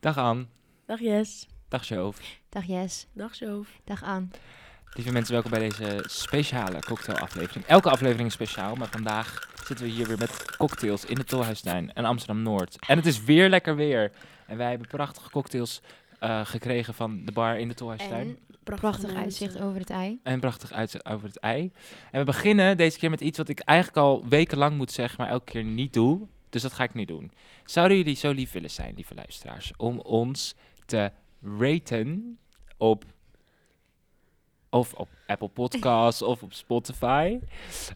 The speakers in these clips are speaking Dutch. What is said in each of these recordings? Dag Anne, Dag Jess. dag Sjoof. Dag Jess, Dag zo. dag Aan. Lieve mensen, welkom bij deze speciale cocktailaflevering. Elke aflevering is speciaal, maar vandaag zitten we hier weer met cocktails in de Tolhuistuin en Amsterdam-Noord. En het is weer lekker weer. En wij hebben prachtige cocktails eh, gekregen van de bar in de Tolhuistuin. En prachtig uitzicht over het ei. En prachtig uit over het ei. En we beginnen deze keer met iets wat ik eigenlijk al wekenlang moet zeggen, maar elke keer niet doe. Dus dat ga ik nu doen. Zouden jullie zo lief willen zijn, lieve luisteraars, om ons te raten op. Of op Apple Podcasts of op Spotify.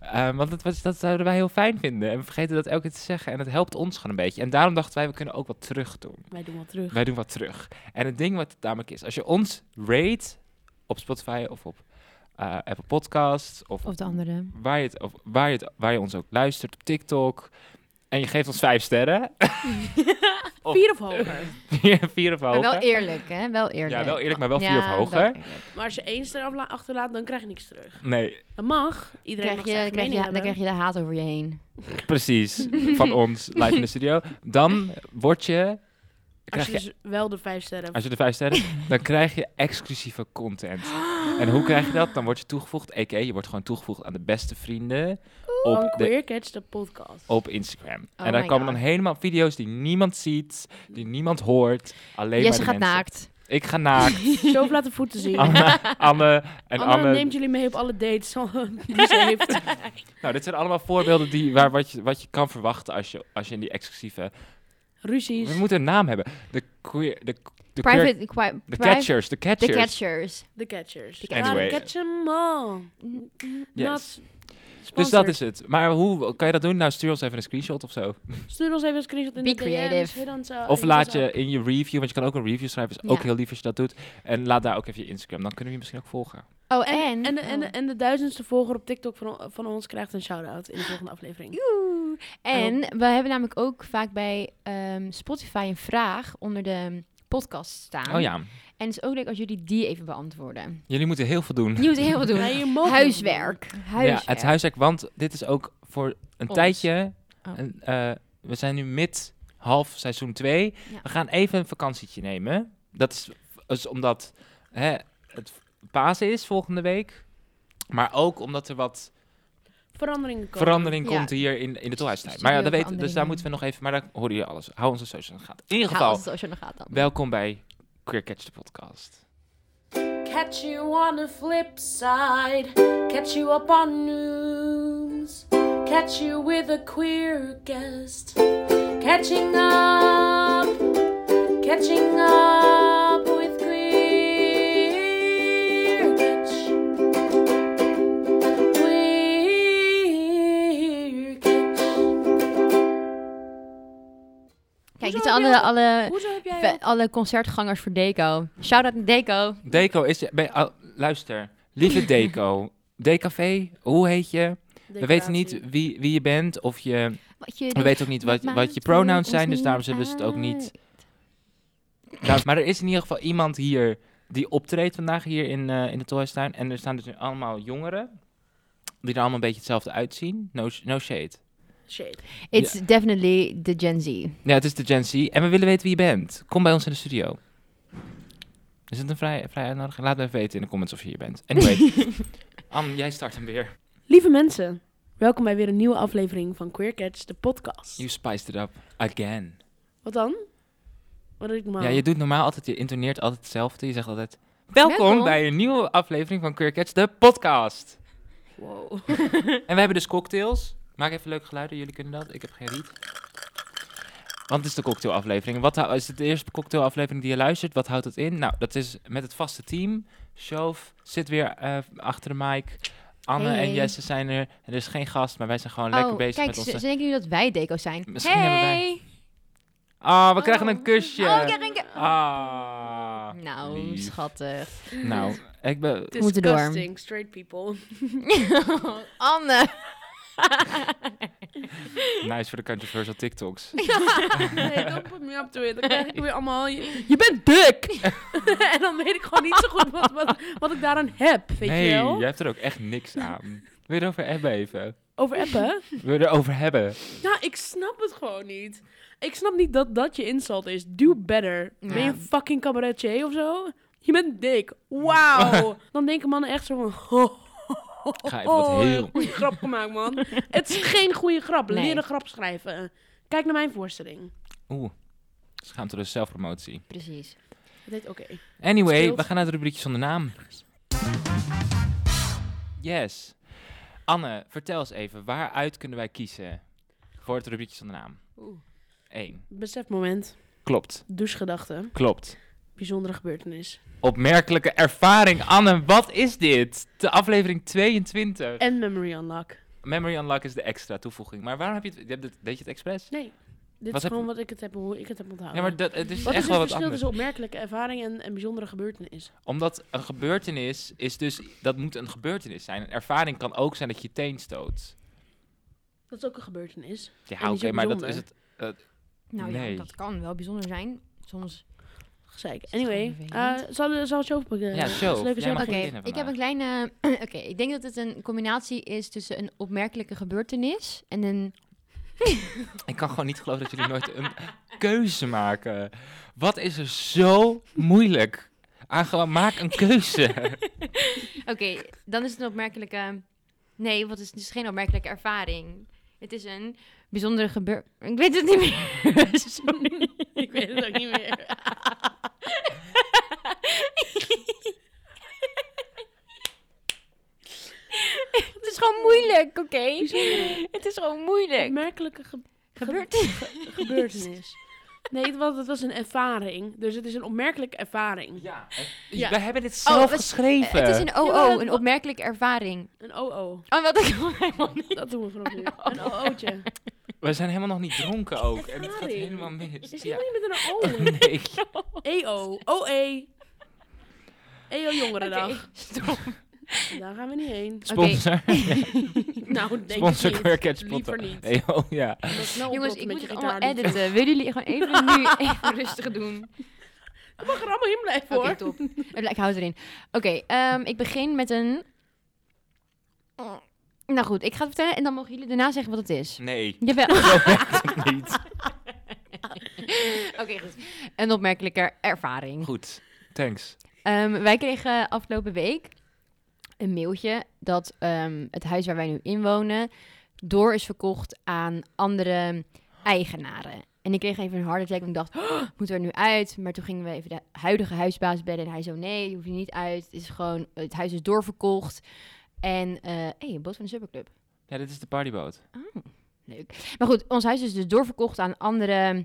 Ehm, want dat, was, dat zouden wij heel fijn vinden. En we vergeten dat elke keer te zeggen. En dat helpt ons gewoon een beetje. En daarom dachten wij, we kunnen ook wat terug doen. Wij doen wat terug. Wij doen wat terug. En het ding wat het namelijk is, als je ons rate op Spotify of op eh, Apple Podcasts of, Of de andere. waar, je het, of waar, je het, waar je ons ook luistert op TikTok en je geeft ons vijf sterren, Of- Vier of hoger. vier vier of Maar hoger. wel eerlijk, hè? Wel eerlijk. Ja, wel eerlijk, maar wel vier of hoger. wel eerlijk. Maar als je één ster afla- achterlaat, dan krijg je niks terug. Nee, Dat mag. Iedereen Krijg mag je, zijn krijg je, mening dan krijg je de haat over je heen. precies. Van ons, live in de studio. Dan word je... Als Krijg je je dus wel de vijf sterren... als je de vijf sterren, dan krijg je exclusieve content. En hoe krijg je dat? Dan word je toegevoegd, a.k.a. je wordt gewoon toegevoegd aan de beste vrienden Van op de Queer Catch, de podcast. op Instagram. en daar Oh my komen dan God. helemaal video's die niemand ziet, die niemand hoort. Alleen Jesse maar gaat de mensen. naakt. Ik ga naakt. Zo laat de voeten zien. Anne, Anne Ah, en Anne, Anne. neemt jullie mee op alle dates die ze heeft. Nou, dit zijn allemaal voorbeelden die, waar, wat, je, wat je kan verwachten als je, als je in die exclusieve... Ruzies. We moeten een naam hebben. De queer... De, de, queer- Private, qua- de private- catchers, de De catchers. catchers. De catchers. De catchers. Anyway. Gotta catch 'em all. Yes. Not Dus dat sponsored. is het. Maar hoe kan je dat doen? Nou, stuur ons even een screenshot of zo. Oh, Stuur ons even een screenshot in Be de creative. DM's. Hit ons, uh, Of hit laat ons je up. in je review, want je kan ook een review schrijven. is ook Ja. heel lief als je dat doet. En laat daar ook even je Instagram. Dan kunnen we je misschien ook volgen. Oh, En, en? en, de- en, de- oh. en de duizendste volger op TikTok van, o- van ons krijgt een shout-out in de volgende aflevering. Oeh. En we hebben namelijk ook vaak bij ehm, Spotify een vraag onder de podcast staan. Oh ja. En het is ook leuk als jullie die even beantwoorden. Jullie moeten heel veel doen. Je moet heel veel doen. Ja, je mag- Huiswerk. Huiswerk. Ja, het huiswerk, want dit is ook voor een Ons. tijdje. Oh. een, eh, we zijn nu mid half seizoen 2. Ja. We gaan even een vakantietje nemen. Dat is, is omdat hè, het Pasen is volgende week. Maar ook omdat er wat Veranderingen komen. verandering Ja. Dus komt hier in, in de tolhuistijd. Maar ja, dat weet, dus daar Studioveranderingen. moeten we nog even. Maar daar horen jullie alles. Hou onze socials in de gaten. In ieder Ja, geval, als het zo nog gaat dan. welkom bij Queer Catch de podcast. Catch you on the flip side. Catch you up on news. Catch you with a queer guest. Catching up. Catching up with queer catch. Queer catch. Kijk, Hoezo dit zijn heb alle, jij- alle, Hoezo heb jij ve- alle concertgangers voor Deco. Shout-out naar Deco. Deco is. je- ben- oh, luister, lieve Deco. DKV, hoe heet je? We weten niet wie, wie je bent of je. Wat je We weten ook niet wat, wat je pronouns zijn, dus daarom zullen ze het ook niet. Nou, maar er is in ieder geval iemand hier die optreedt vandaag hier in, eh, in de Tolhuistuin. En er staan dus nu allemaal jongeren die er allemaal een beetje hetzelfde uitzien. No, sh- no shade. Shit. It's definitely the Gen Z. Ja, het is de Gen Z en we willen weten wie je bent. Kom bij ons in de studio. Is het een vrij, vrij uitnodiging? Laat me even weten in de comments of je hier bent. Anyway, Anne, jij start hem weer. Lieve mensen, welkom bij weer een nieuwe aflevering van Queer Catch, de podcast. You spiced it up again. Wat dan? Wat doe ik normaal? Ja, je doet normaal altijd, je intoneert altijd hetzelfde. Je zegt altijd, welkom, Welkom. bij een nieuwe aflevering van Queer Catch, de podcast. Wow. En we hebben dus cocktails. Maak even leuke geluiden, jullie kunnen dat. Ik heb geen riet. Want het is de cocktailaflevering. Wat hou- is het de eerste cocktailaflevering die je luistert? Wat houdt het in? Nou, dat is met het vaste team. Shoof zit weer eh, achter de mic. Anne Hey. en Jesse zijn er. Er is geen gast, maar wij zijn gewoon oh, lekker bezig kijk, met ze, onze... ze denken nu dat wij Deco zijn. Misschien hey! hebben wij- Ah, we krijgen Oh. een kusje. Oh, ik krijg een keer- Ah. Nou, lief. schattig. Nou, ik ben... We moeten door. Disgusting, straight people. Anne. Nice voor de controversial TikToks. nee, don't put me up to it. Dan krijg ik weer allemaal... Je, Je bent dik! en dan weet ik gewoon niet zo goed wat, wat, wat ik daaraan heb, weet nee, je wel? jij hebt er ook echt niks aan. Wil je erover hebben even? Over appen? Wil je erover hebben? nou, ik snap het gewoon niet. ik snap niet dat dat je insult is. Do better. Ben je Ja. een fucking cabaretier of zo? Je bent dik. Wauw. Dan denken mannen echt zo van... Ho, ho, Ga even wat ho, heel- goeie grap gemaakt, man. Het is geen goede grap. Nee. Leer een grap schrijven. Kijk naar mijn voorstelling. Oeh, schaamte dus zelfpromotie. Precies. Dat heet oké. Anyway, Speelt. we gaan naar het rubriekje zonder naam. Yes. Anne, vertel eens even, waaruit kunnen wij kiezen voor het rubriekje zonder naam? Oeh. Eén. Besefmoment. Klopt, Douchegedachte. klopt. Bijzondere gebeurtenis. Opmerkelijke ervaring, Anne, wat is dit? De aflevering 22. En memory unlock. Memory Unlock is de extra toevoeging. Maar waarom heb je het, je hebt het- deed je het expres? Nee. Dit Wat is heb- gewoon wat ik het heb, hoe ik het heb onthouden. Ja, maar dat, het is wat dus echt is wel het wat verschil anders. tussen opmerkelijke ervaring en, en bijzondere gebeurtenis? Omdat een gebeurtenis is dus, dat moet een gebeurtenis zijn. Een ervaring kan ook zijn dat je je teen stoot. Dat is ook een gebeurtenis. Ja, En oké, die is ook maar dat is bijzonder. het. Nou Nee. ja, dat kan wel bijzonder zijn. Soms. Gezeik. Is het Anyway, gewoon eh vervelend? zal zal het show pakken? Ja, show. Is het Jij leuke show mag Oké, beginnen ik vandaag. heb een kleine. Oké, ik denk dat het een combinatie is tussen een opmerkelijke gebeurtenis en een. Ik kan gewoon niet geloven dat jullie nooit een keuze maken. Wat is er zo moeilijk? Aan gewoon maak een keuze. Oké, dan is het een opmerkelijke. Nee, wat is het? is geen opmerkelijke ervaring. Het is een bijzondere gebeur. Ik weet het niet meer. Sorry. ik weet het ook niet meer. het is gewoon moeilijk, oké? Bijzondere Het is gewoon moeilijk. Oh, opmerkelijke ge- Gebeurt ge- gebeurtenis. Nee, het was, het was een ervaring. Dus het is een opmerkelijke ervaring. Ja, Ja. we hebben dit Oh, zelf het- geschreven. Het is een Jawel, OO, het een wa- opmerkelijke ervaring. Een OO. Oh, wat ik wil helemaal niet. Dat doen we vanaf nu. Een OO'tje. We zijn helemaal nog niet dronken ook. En het gaat Ervaring. helemaal mis. Het is Ja. helemaal niet met een O. E Nee. EO. OE. EO E Jongerendag. Oké, stop. Daar gaan we niet heen. Sponsor. Nou, denk Sponsor ik niet. Queercat Liever Spotter. niet. Nee, oh, ja. Omdat het nou Jongens, oplossen ik met moet je het allemaal gitaarliedje. editen. Willen jullie gewoon even nu even rustig doen? Dat mag er allemaal in blijven Oké, hoor. top. Het lijkt- Ik hou het erin. Oké, ehm, ik begin met een... Nou goed, ik ga het vertellen en dan mogen jullie daarna zeggen wat het is. Nee, Jawel. zo werkt het niet. Oké, goed. Een opmerkelijke ervaring. Goed, thanks. Ehm, wij kregen afgelopen week een mailtje dat ehm, het huis waar wij nu in wonen door is verkocht aan andere eigenaren. En ik kreeg even een heart attack en ik dacht, "Oh, moeten we er nu uit? Maar toen gingen we even de huidige huisbaas bellen en hij zo, nee, je hoeft er niet uit. Het, is gewoon, het huis is doorverkocht. En, eh hey, een boot van de Superclub. Ja, dit is de partyboot. Oh, leuk. Maar goed, ons huis is dus doorverkocht aan andere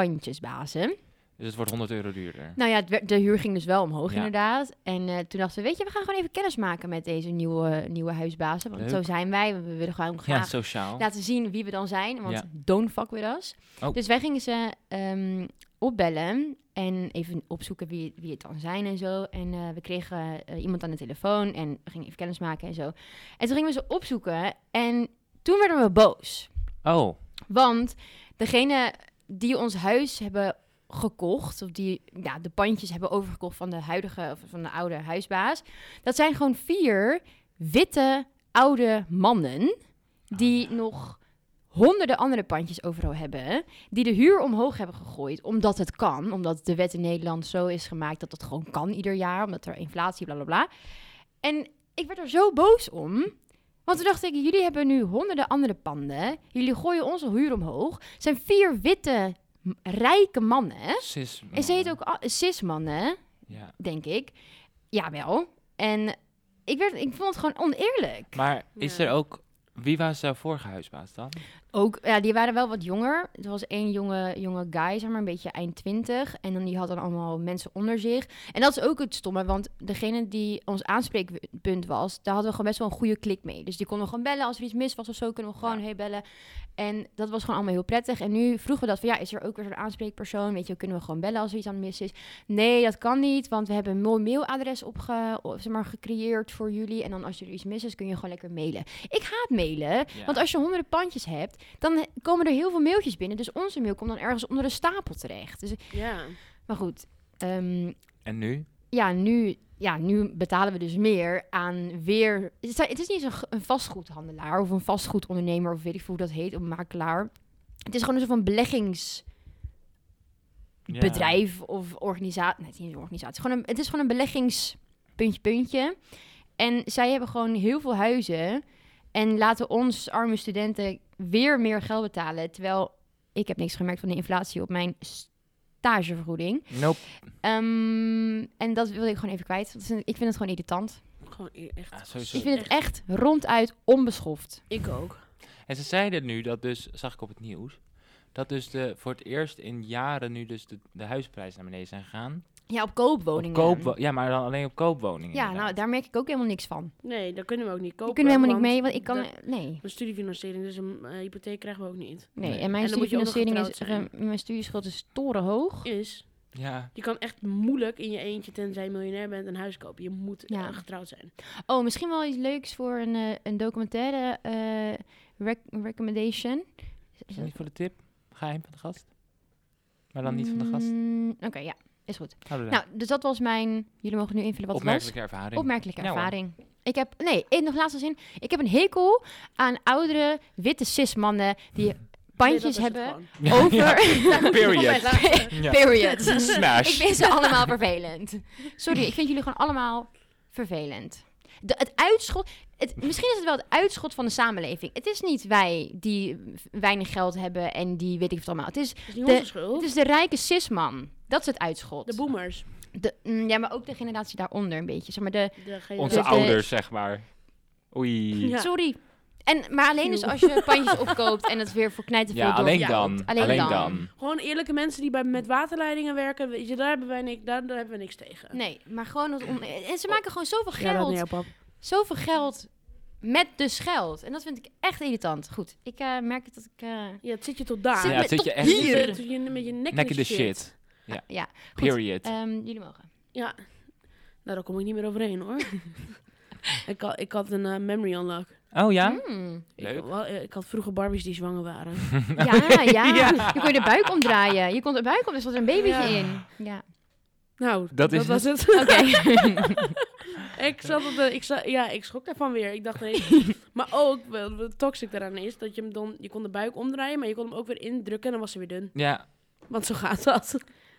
pandjesbazen. Dus het wordt 100 euro duurder. Nou ja, het werd- de huur ging dus wel omhoog Ja. inderdaad. En eh, toen dachten we, weet je, we gaan gewoon even kennis maken met deze nieuwe, nieuwe huisbazen. Want Leuk. zo zijn wij. We willen gewoon Ja, graag Nou, sociaal. laten zien wie we dan zijn. Want Ja. don't fuck with us. Oh. Dus wij gingen ze ehm, opbellen en even opzoeken wie, wie het dan zijn en zo. En eh, we kregen eh, iemand aan de telefoon en we gingen even kennis maken en zo. En toen gingen we ze opzoeken en toen werden we boos. Oh, Want degene die ons huis hebben gekocht, of die ja, de pandjes hebben overgekocht van de huidige of van de oude huisbaas, dat zijn gewoon vier witte oude mannen die nog honderden andere pandjes overal hebben, die de huur omhoog hebben gegooid, omdat het kan, omdat de wet in Nederland zo is gemaakt dat dat gewoon kan ieder jaar, omdat er inflatie, bla bla bla. En ik werd er zo boos om. Want toen dacht ik, jullie hebben nu honderden andere panden. Jullie gooien onze huur omhoog. Het zijn vier witte, m- rijke mannen. cis. En ze heet ook a- cis-mannen, Ja. denk ik. Jawel. En ik, werd, ik vond het gewoon oneerlijk. Maar is Ja. er ook... Wie was jouw vorige huisbaas dan? Ook, ja, die waren wel wat jonger. Er was één jonge, jonge guy, zeg maar, een beetje eind twintig. En dan, die had dan allemaal mensen onder zich. En dat is ook het stomme, want degene die ons aanspreekpunt was... daar hadden we gewoon best wel een goede klik mee. Dus die konden we gewoon bellen als er iets mis was of zo, kunnen we gewoon Ja. hey, bellen. En dat was gewoon allemaal heel prettig. En nu vroegen we dat van, ja, is er ook weer zo'n aanspreekpersoon? Weet je, kunnen we gewoon bellen als er iets aan mis is? Nee, dat kan niet, want we hebben een mooi mailadres opge, of, zeg maar, gecreëerd voor jullie. En dan als er iets mis is, kun je gewoon lekker mailen. Ik haat mailen, Ja. want als je honderden pandjes hebt, dan he- komen er heel veel mailtjes binnen. Dus onze mail komt dan ergens onder een stapel terecht. Dus, Ja. maar goed, ehm, En nu? ja, nu, ja, nu betalen we dus meer aan weer... Het is, het is niet eens een, g- een vastgoedhandelaar of een vastgoedondernemer of weet ik veel hoe dat heet, een makelaar. Het is gewoon een soort van beleggings... Ja. bedrijf of organisatie. Nee, het is niet een organisatie. Gewoon een, het is gewoon een beleggingspuntje, puntje. En zij hebben gewoon heel veel huizen. En laten ons arme studenten weer meer geld betalen. Terwijl ik heb niks gemerkt van de inflatie op mijn stagevergoeding. Nope. Ehm, en dat wilde ik gewoon even kwijt. want Ik vind het gewoon irritant. Gewoon e- echt. Ja, sowieso. Ik vind het echt ronduit onbeschoft. Ik ook. En ze zeiden nu dat dus, zag ik op het nieuws, dat dus de, voor het eerst in jaren nu dus de, de huisprijzen naar beneden zijn gegaan. Ja, op Op koopwoningen. koopwo- ja, maar dan alleen op koopwoningen. ja, nou inderdaad. daar merk ik ook helemaal niks van. Nee, daar kunnen we ook niet kopen. Daar kunnen we helemaal niet want mee, want ik kan... dat- nee. Een studiefinanciering, dus een eh, hypotheek krijgen we ook niet. Nee, Nee. en mijn En dan moet je ook nog studiefinanciering is... getrouwd eh, Mijn studieschuld is torenhoog. Is, nou- ja. je kan echt moeilijk in je eentje, tenzij je miljonair bent, een huis kopen. Je moet eh, Ja. getrouwd zijn. Oh, misschien wel iets leuks voor een, eh, een documentaire eh, rec- recommendation. Is dat niet voor de tip? Geheim van de gast? Maar dan niet van de gast? Mm, Oké, ja. Is goed. Nou, Nou, dus dat was mijn... Jullie mogen nu invullen wat het was. opmerkelijke ervaring. Opmerkelijke Ja, hoor. ervaring. ik heb, nee, in nog laatste zin. Ik heb een hekel aan oudere witte cis-mannen die pandjes hebben over. Period. Ja. Period. Ik Smash. vind ze allemaal vervelend. Sorry, ik vind jullie gewoon allemaal vervelend. De, het uitschot. Het, misschien is het wel het uitschot van de samenleving. Het is niet wij die weinig geld hebben en die weet ik het allemaal. Het is, Het is niet De- onze het schuld. is de rijke cisman. Dat is het uitschot. De boomers. De- mm, ja, maar ook de generatie daaronder een beetje. Zeg maar de, De generatie- Onze Dus, eh, ouders, zeg maar. Oei. Ja. Ja, Sorry. En, maar alleen dus Eeuw. als je pandjes opkoopt en het weer voor knijten veel door- alleen Ja, dan. alleen Alleen, dan. dan. Gewoon eerlijke mensen die bij, met waterleidingen werken. Weet je, daar hebben wij niks, daar, daar hebben we niks tegen. Nee, maar gewoon... Het on- en ze maken gewoon zoveel Oh. Ja, dat geld. nee, pap. zoveel geld met dus geld. En dat vind ik echt irritant. Goed, ik eh, merk het dat ik... eh, Ja, het zit je tot daar. Zit Ah. Ja, me het zit tot je echt Je hier. zit je met je nek Nek in in de shit. Ja. ja, Goed, Period. ehm, jullie mogen. Ja, nou, daar kom ik niet meer overheen hoor. ik, had, ik had een eh, hm? memory unlock. oh ja? Mm. Leuk. Ik, wel- eh, ik had vroeger Barbies die zwanger waren. Ja, ja. Je kon je de buik omdraaien. Je kon de buik om, er zat een babytje Ja. in. Ja. Nou, dat, is was het. Oké. ik zat op de, ik zat, ja, ik schrok daarvan weer. Ik dacht, nee. maar ook, wel, wat toxic daaraan is, dat je hem dan, je kon de buik omdraaien, maar je kon hem ook weer indrukken en dan was hij weer dun. Ja. Want zo gaat dat.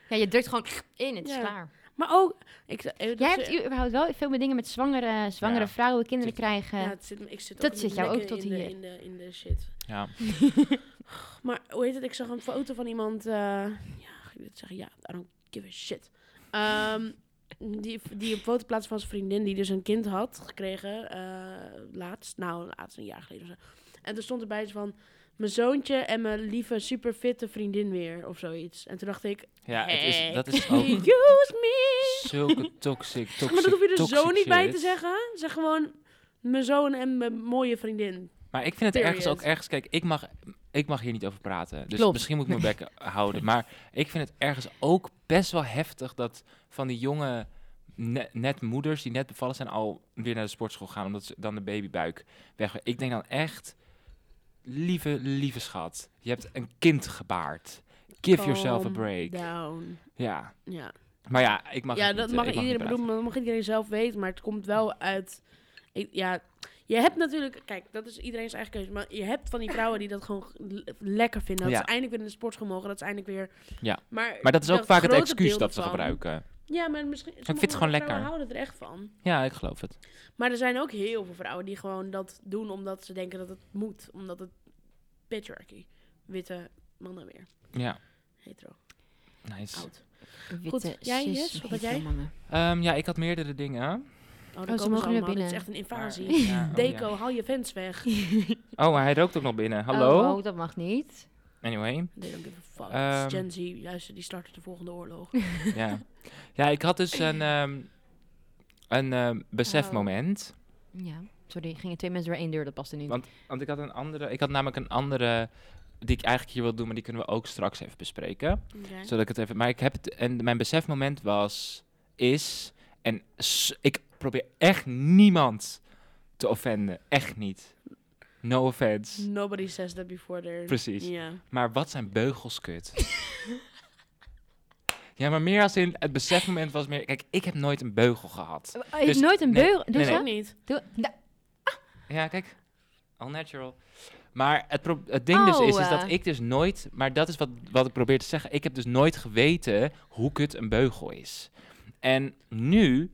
Ja, je drukt gewoon in, het is Ja. klaar. Maar ook, ik, eh, dat is- Jij hebt u- überhaupt wel veel meer dingen met zwangere, zwangere Ja. vrouwen, kinderen krijgen. ja, het zit, me- ik zit dat ook zit met jou ook nekken tot in de- hier. in, de, in de shit. ja. Maar hoe heet het? Ik zag een foto van iemand. eh, ja, ik wil het zeggen, ja, I don't give a shit. Ehm, die, die een foto plaatste van zijn vriendin, die dus een kind had gekregen. eh, laatst, nou, laatst een jaar geleden. Of zo. En toen stond erbij iets van. Mijn zoontje en mijn lieve, superfitte vriendin weer, of zoiets. En toen dacht ik, ja het is, dat is ook excuse me! zulke toxic, toxic maar dat hoef je er toxic zo niet bij shit. te zeggen. Zeg gewoon, mijn zoon en mijn mooie vriendin. Maar ik vind het ergens Period. ook ergens. Kijk, ik mag, ik mag hier niet over praten. Dus Klopt. misschien moet ik mijn bek houden. Maar ik vind het ergens ook best wel heftig dat van die jonge ne- net moeders die net bevallen zijn al weer naar de sportschool gaan. Omdat ze dan de babybuik weg. Ik denk dan echt, lieve, lieve schat. Je hebt een kind gebaard. Give yourself a Calm break. Down. Ja. Ja. Maar ja, ik mag. ja, het dat niet, eh, ik mag, iedereen niet praten. bedoelen, dat mag iedereen zelf weten, maar het komt wel uit. Ik, ja, je hebt natuurlijk, kijk, dat is iedereen's eigen keuze, maar je hebt van die vrouwen die dat gewoon le- lekker vinden. Dat Ja. ze eindelijk weer in de sportschool mogen, dat ze eindelijk weer. Ja. maar, Maar dat is ook dat vaak het grote excuus deel dat ze ervan- gebruiken. Ja, maar misschien. Ik vind het gewoon lekker. houden er echt van. Ja, ik geloof het. Maar er zijn ook heel veel vrouwen die gewoon dat doen omdat ze denken dat het moet, omdat het patriarchy, witte mannen weer, Ja, hetero, nice. oud. Witte Goed, jij, cis- Jess, wat had witte jij? mannen. Ehm, ja, ik had meerdere dingen. Oh, ze daar komen mogen ze weer allemaal. Dit is binnen. echt een invasie. Maar- ja, oh Deco, ja. haal je fans weg. Oh, maar hij rookt ook nog binnen. Hallo? Oh, dat mag niet. Anyway, They don't give a fuck. Ehm. It's Gen Z, luister, die starten de volgende oorlog. ja. Ja, ik had dus een, ehm, een ehm, besefmoment. Ja. Sorry, gingen twee mensen door één deur, dat paste niet. Want ik had een andere... Ik had namelijk een andere die ik eigenlijk hier wil doen, maar die kunnen we ook straks even bespreken. Oké. Zodat ik het even... Maar ik heb het... En mijn besefmoment was... Is... En s- ik probeer echt niemand te offenden. Echt niet. No offense. Nobody says that before they're... Precies. Ja. Maar wat zijn beugels kut? ja, maar meer als in het besefmoment was meer... Kijk, ik heb nooit een beugel gehad. Je hebt Dus- nooit een nee, beugel. nee, Dus nee. Ook hè? niet. Doe- nou, Ja, kijk. All natural. Maar het, pro- het ding dus Oh, is, is dat eh. ik dus nooit... Maar dat is wat, wat ik probeer te zeggen. Ik heb dus nooit geweten hoe kut een beugel is. En nu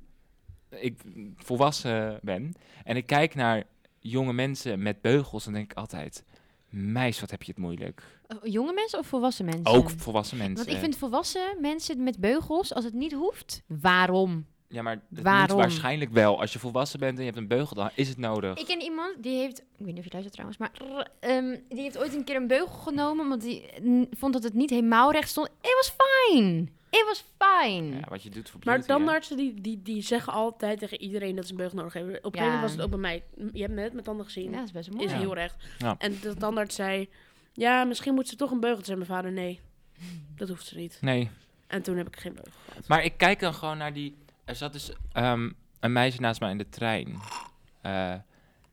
ik volwassen ben en ik kijk naar jonge mensen met beugels... dan denk ik altijd, meis, wat heb je het moeilijk. Jonge mensen of volwassen mensen? Ook volwassen mensen. Want ik vind volwassen mensen met beugels, als het niet hoeft, waarom? Ja, maar het moet Waarom? waarschijnlijk wel. Als je volwassen bent en je hebt een beugel, dan is het nodig. Ik ken iemand die heeft, ik weet niet of je luistert trouwens, maar ehm, die heeft ooit een keer een beugel genomen, omdat hij mm, vond dat het niet helemaal recht stond. It was fine. It was fine. Ja, wat je doet voor Maar beauty, hè. tandartsen die, die, die zeggen altijd tegen iedereen dat ze een beugel nodig hebben. Op een gegeven moment was het ook bij mij. Je hebt net met tanden gezien. Ja, dat is best mooi. Is Ja. heel recht. Ja. En de tandarts zei... Ja, misschien moet ze toch een beugel. Toen zei mijn vader, nee. Dat hoeft ze niet. Nee, En toen heb ik geen beugel. maar ik kijk dan gewoon naar die... Er zat dus ehm, een meisje naast mij in de trein. eh,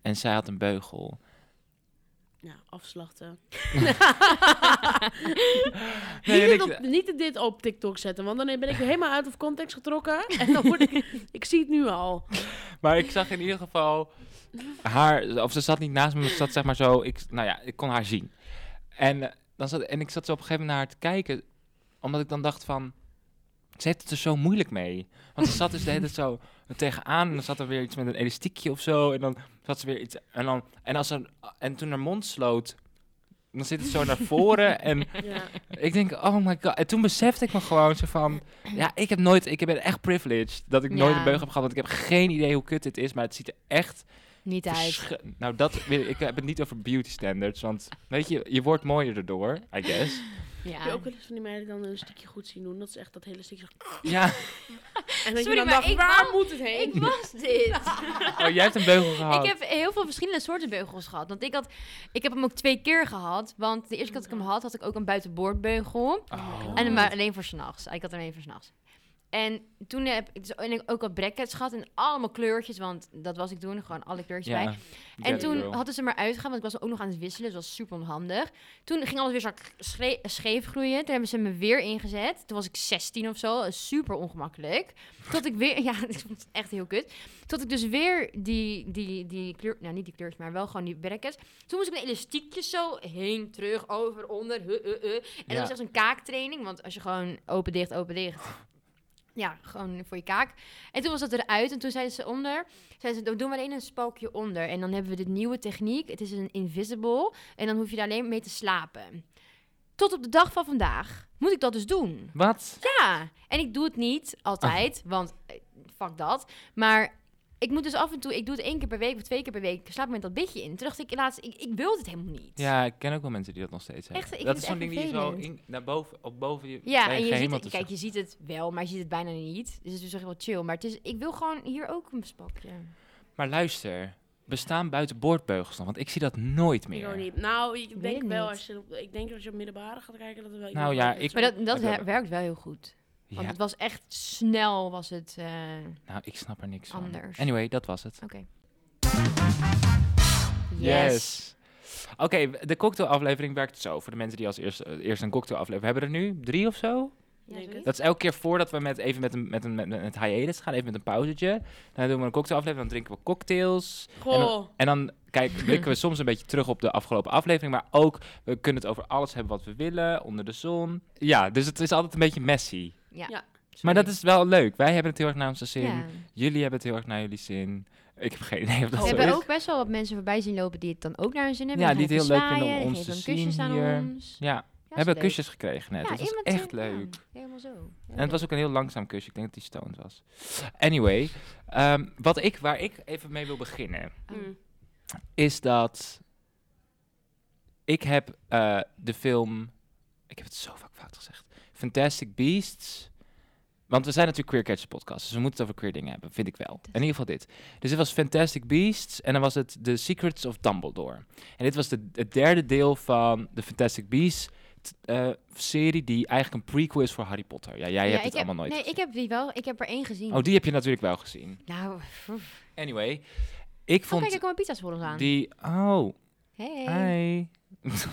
en zij had een beugel. Ja, afslachten. Nee, en niet, dit ik- op, niet dit op TikTok zetten, want dan ben ik helemaal uit of context getrokken. En dan word ik... Ik zie het nu al. Maar ik zag in ieder geval haar... Of ze zat niet naast me, maar ze zat zeg maar zo... Ik, nou ja, ik kon haar zien. En, eh, dan zat, en ik zat zo op een gegeven moment naar haar te kijken. Omdat ik dan dacht van... Ze heeft het er zo moeilijk mee. Want ze zat dus de hele tijd zo er tegenaan. En dan zat er weer iets met een elastiekje of zo. En dan zat ze weer iets... En, dan, en, als ze, en toen haar mond sloot... Dan zit het zo naar voren. En Ja. ik denk, oh my god. En toen besefte ik me gewoon zo van... Ja, ik heb nooit... Ik ben echt privileged dat ik nooit Ja. een beugel heb gehad. Want ik heb geen idee hoe kut dit is. Maar het ziet er echt... Niet uit. verschi- Nou, dat... weet Ik ik heb het niet over beauty standards. Want, weet je, je wordt mooier erdoor. I guess. Heb je Ja. ook wel eens van die meiden dan een stukje goed zien doen? Dat is echt dat hele stukje. zo- Ja. En dat Sorry, je dan maar dacht, ik waar wou- moet het heen? Ik was dit. Oh, jij hebt een beugel gehad. Ik heb heel veel verschillende soorten beugels gehad. Want ik, had, ik heb hem ook twee keer gehad. Want de eerste keer dat ik hem had, had ik ook een buitenboordbeugel. Oh. En maar alleen voor s'nachts. Ik had hem alleen voor s'nachts. En toen heb ik dus ook wat brackets gehad. En allemaal kleurtjes. Want dat was ik toen. Gewoon alle kleurtjes bij. En Get toen girl. hadden ze maar uitgegaan, want ik was ook nog aan het wisselen. Dus dat was super onhandig. Toen ging alles weer zo schree- scheef groeien. Toen hebben ze me weer ingezet. Toen was ik 16 of zo. Super ongemakkelijk. Tot ik weer... Ja, ik vond het echt heel kut. Tot ik dus weer die, die, die kleur... Nou, niet die kleur, maar wel gewoon die brackets. Toen moest ik met elastiekjes zo heen, terug, over, onder. Huh, huh, huh. En Ja. dat was echt een kaaktraining. Want als je gewoon open, dicht, open, dicht... Ja, gewoon voor je kaak. En toen was dat eruit. En toen zeiden ze onder... Zij ze, doen we alleen een spalkje onder. En dan hebben we de nieuwe techniek. Het is een invisible. En dan hoef je daar alleen mee te slapen. Tot op de dag van vandaag moet ik dat dus doen. Wat? Ja, en ik doe het niet altijd, want eh, fuck dat. Maar ik moet dus af en toe, ik doe het één keer per week of twee keer per week. Ik slaap met dat bitje in. Toen dacht ik laatst, ik, ik wil dit helemaal niet. Ja, ik ken ook wel mensen die dat nog steeds hebben. Echt, ik dat vind is het zo'n echt ding die je zo vervelend. in- naar boven, op boven je Ja, bij en je ziet, gehemel het, te kijk, je ziet het wel, maar je ziet het bijna niet. Dus het is dus echt wel chill. Maar het is, ik wil gewoon hier ook een spalkje. Maar luister, bestaan buiten boordbeugels dan? Want ik zie dat nooit Ik meer. ook niet. Nou, ik Weet denk ik wel, niet. als je, op- ik denk als je op middelbare gaat kijken, dat er wel Nou iemand ja, is met ik- Maar dat, dat Oké. he- werkt wel heel goed. Ja, Want het was echt snel, was het. eh, nou, ik snap er niks van. Anders. Anyway, dat was het. Oké. Yes. Oké, de cocktailaflevering werkt zo. Voor de mensen die als eerste, eh, eerst een cocktailaflevering hebben, we er nu drie of zo? Ja, Denk doe het. Dat is elke keer voordat we met, even met een, met een, met een met hiatus gaan, even met een pauzetje. Dan doen we een cocktailaflevering, dan drinken we cocktails. En dan, Goh. en dan kijk, blikken we soms een beetje terug op de afgelopen aflevering. Maar ook, we kunnen het over alles hebben wat we willen, onder de zon. Ja, dus het is altijd een beetje messy. Ja. Ja. Maar dat is wel leuk. Wij hebben het heel erg naar onze zin. Ja. Jullie hebben het heel erg naar jullie zin. Ik heb geen idee of dat We zo hebben is. ook best wel wat mensen voorbij zien lopen die het dan ook naar hun zin hebben. Oh. Ja, Dan die gaan het even heel leuk vinden om zwaaien, ons die te geven een kusjes zien aan hier. ons. Ja, Ja, hebben is leuk. kusjes gekregen net. Ja, dat was iemand echt zei- ja, leuk. helemaal zo. En het was ook een heel langzaam kusje. Ik denk dat die stoned was. Anyway, ehm, wat ik, waar ik even mee wil beginnen, Mm. is dat ik heb eh, de film, ik heb het zo vaak fout gezegd, Fantastic Beasts. Want we zijn natuurlijk Queer Catch podcast, dus we moeten het over queer dingen hebben, vind ik wel. In ieder geval dit. Dus dit was Fantastic Beasts en dan was het The Secrets of Dumbledore. En dit was de, het derde deel van de Fantastic Beasts t- eh, serie die eigenlijk een prequel is voor Harry Potter. Ja, jij Ja, hebt ik het allemaal nooit Nee, gezien. ik heb die wel. Ik heb er één gezien. Oh, die heb je natuurlijk wel gezien. Nou, pff. Anyway, ik oh, vond kijk, er komen pizza's voor ons aan. die... Oh, hey. hi. Ik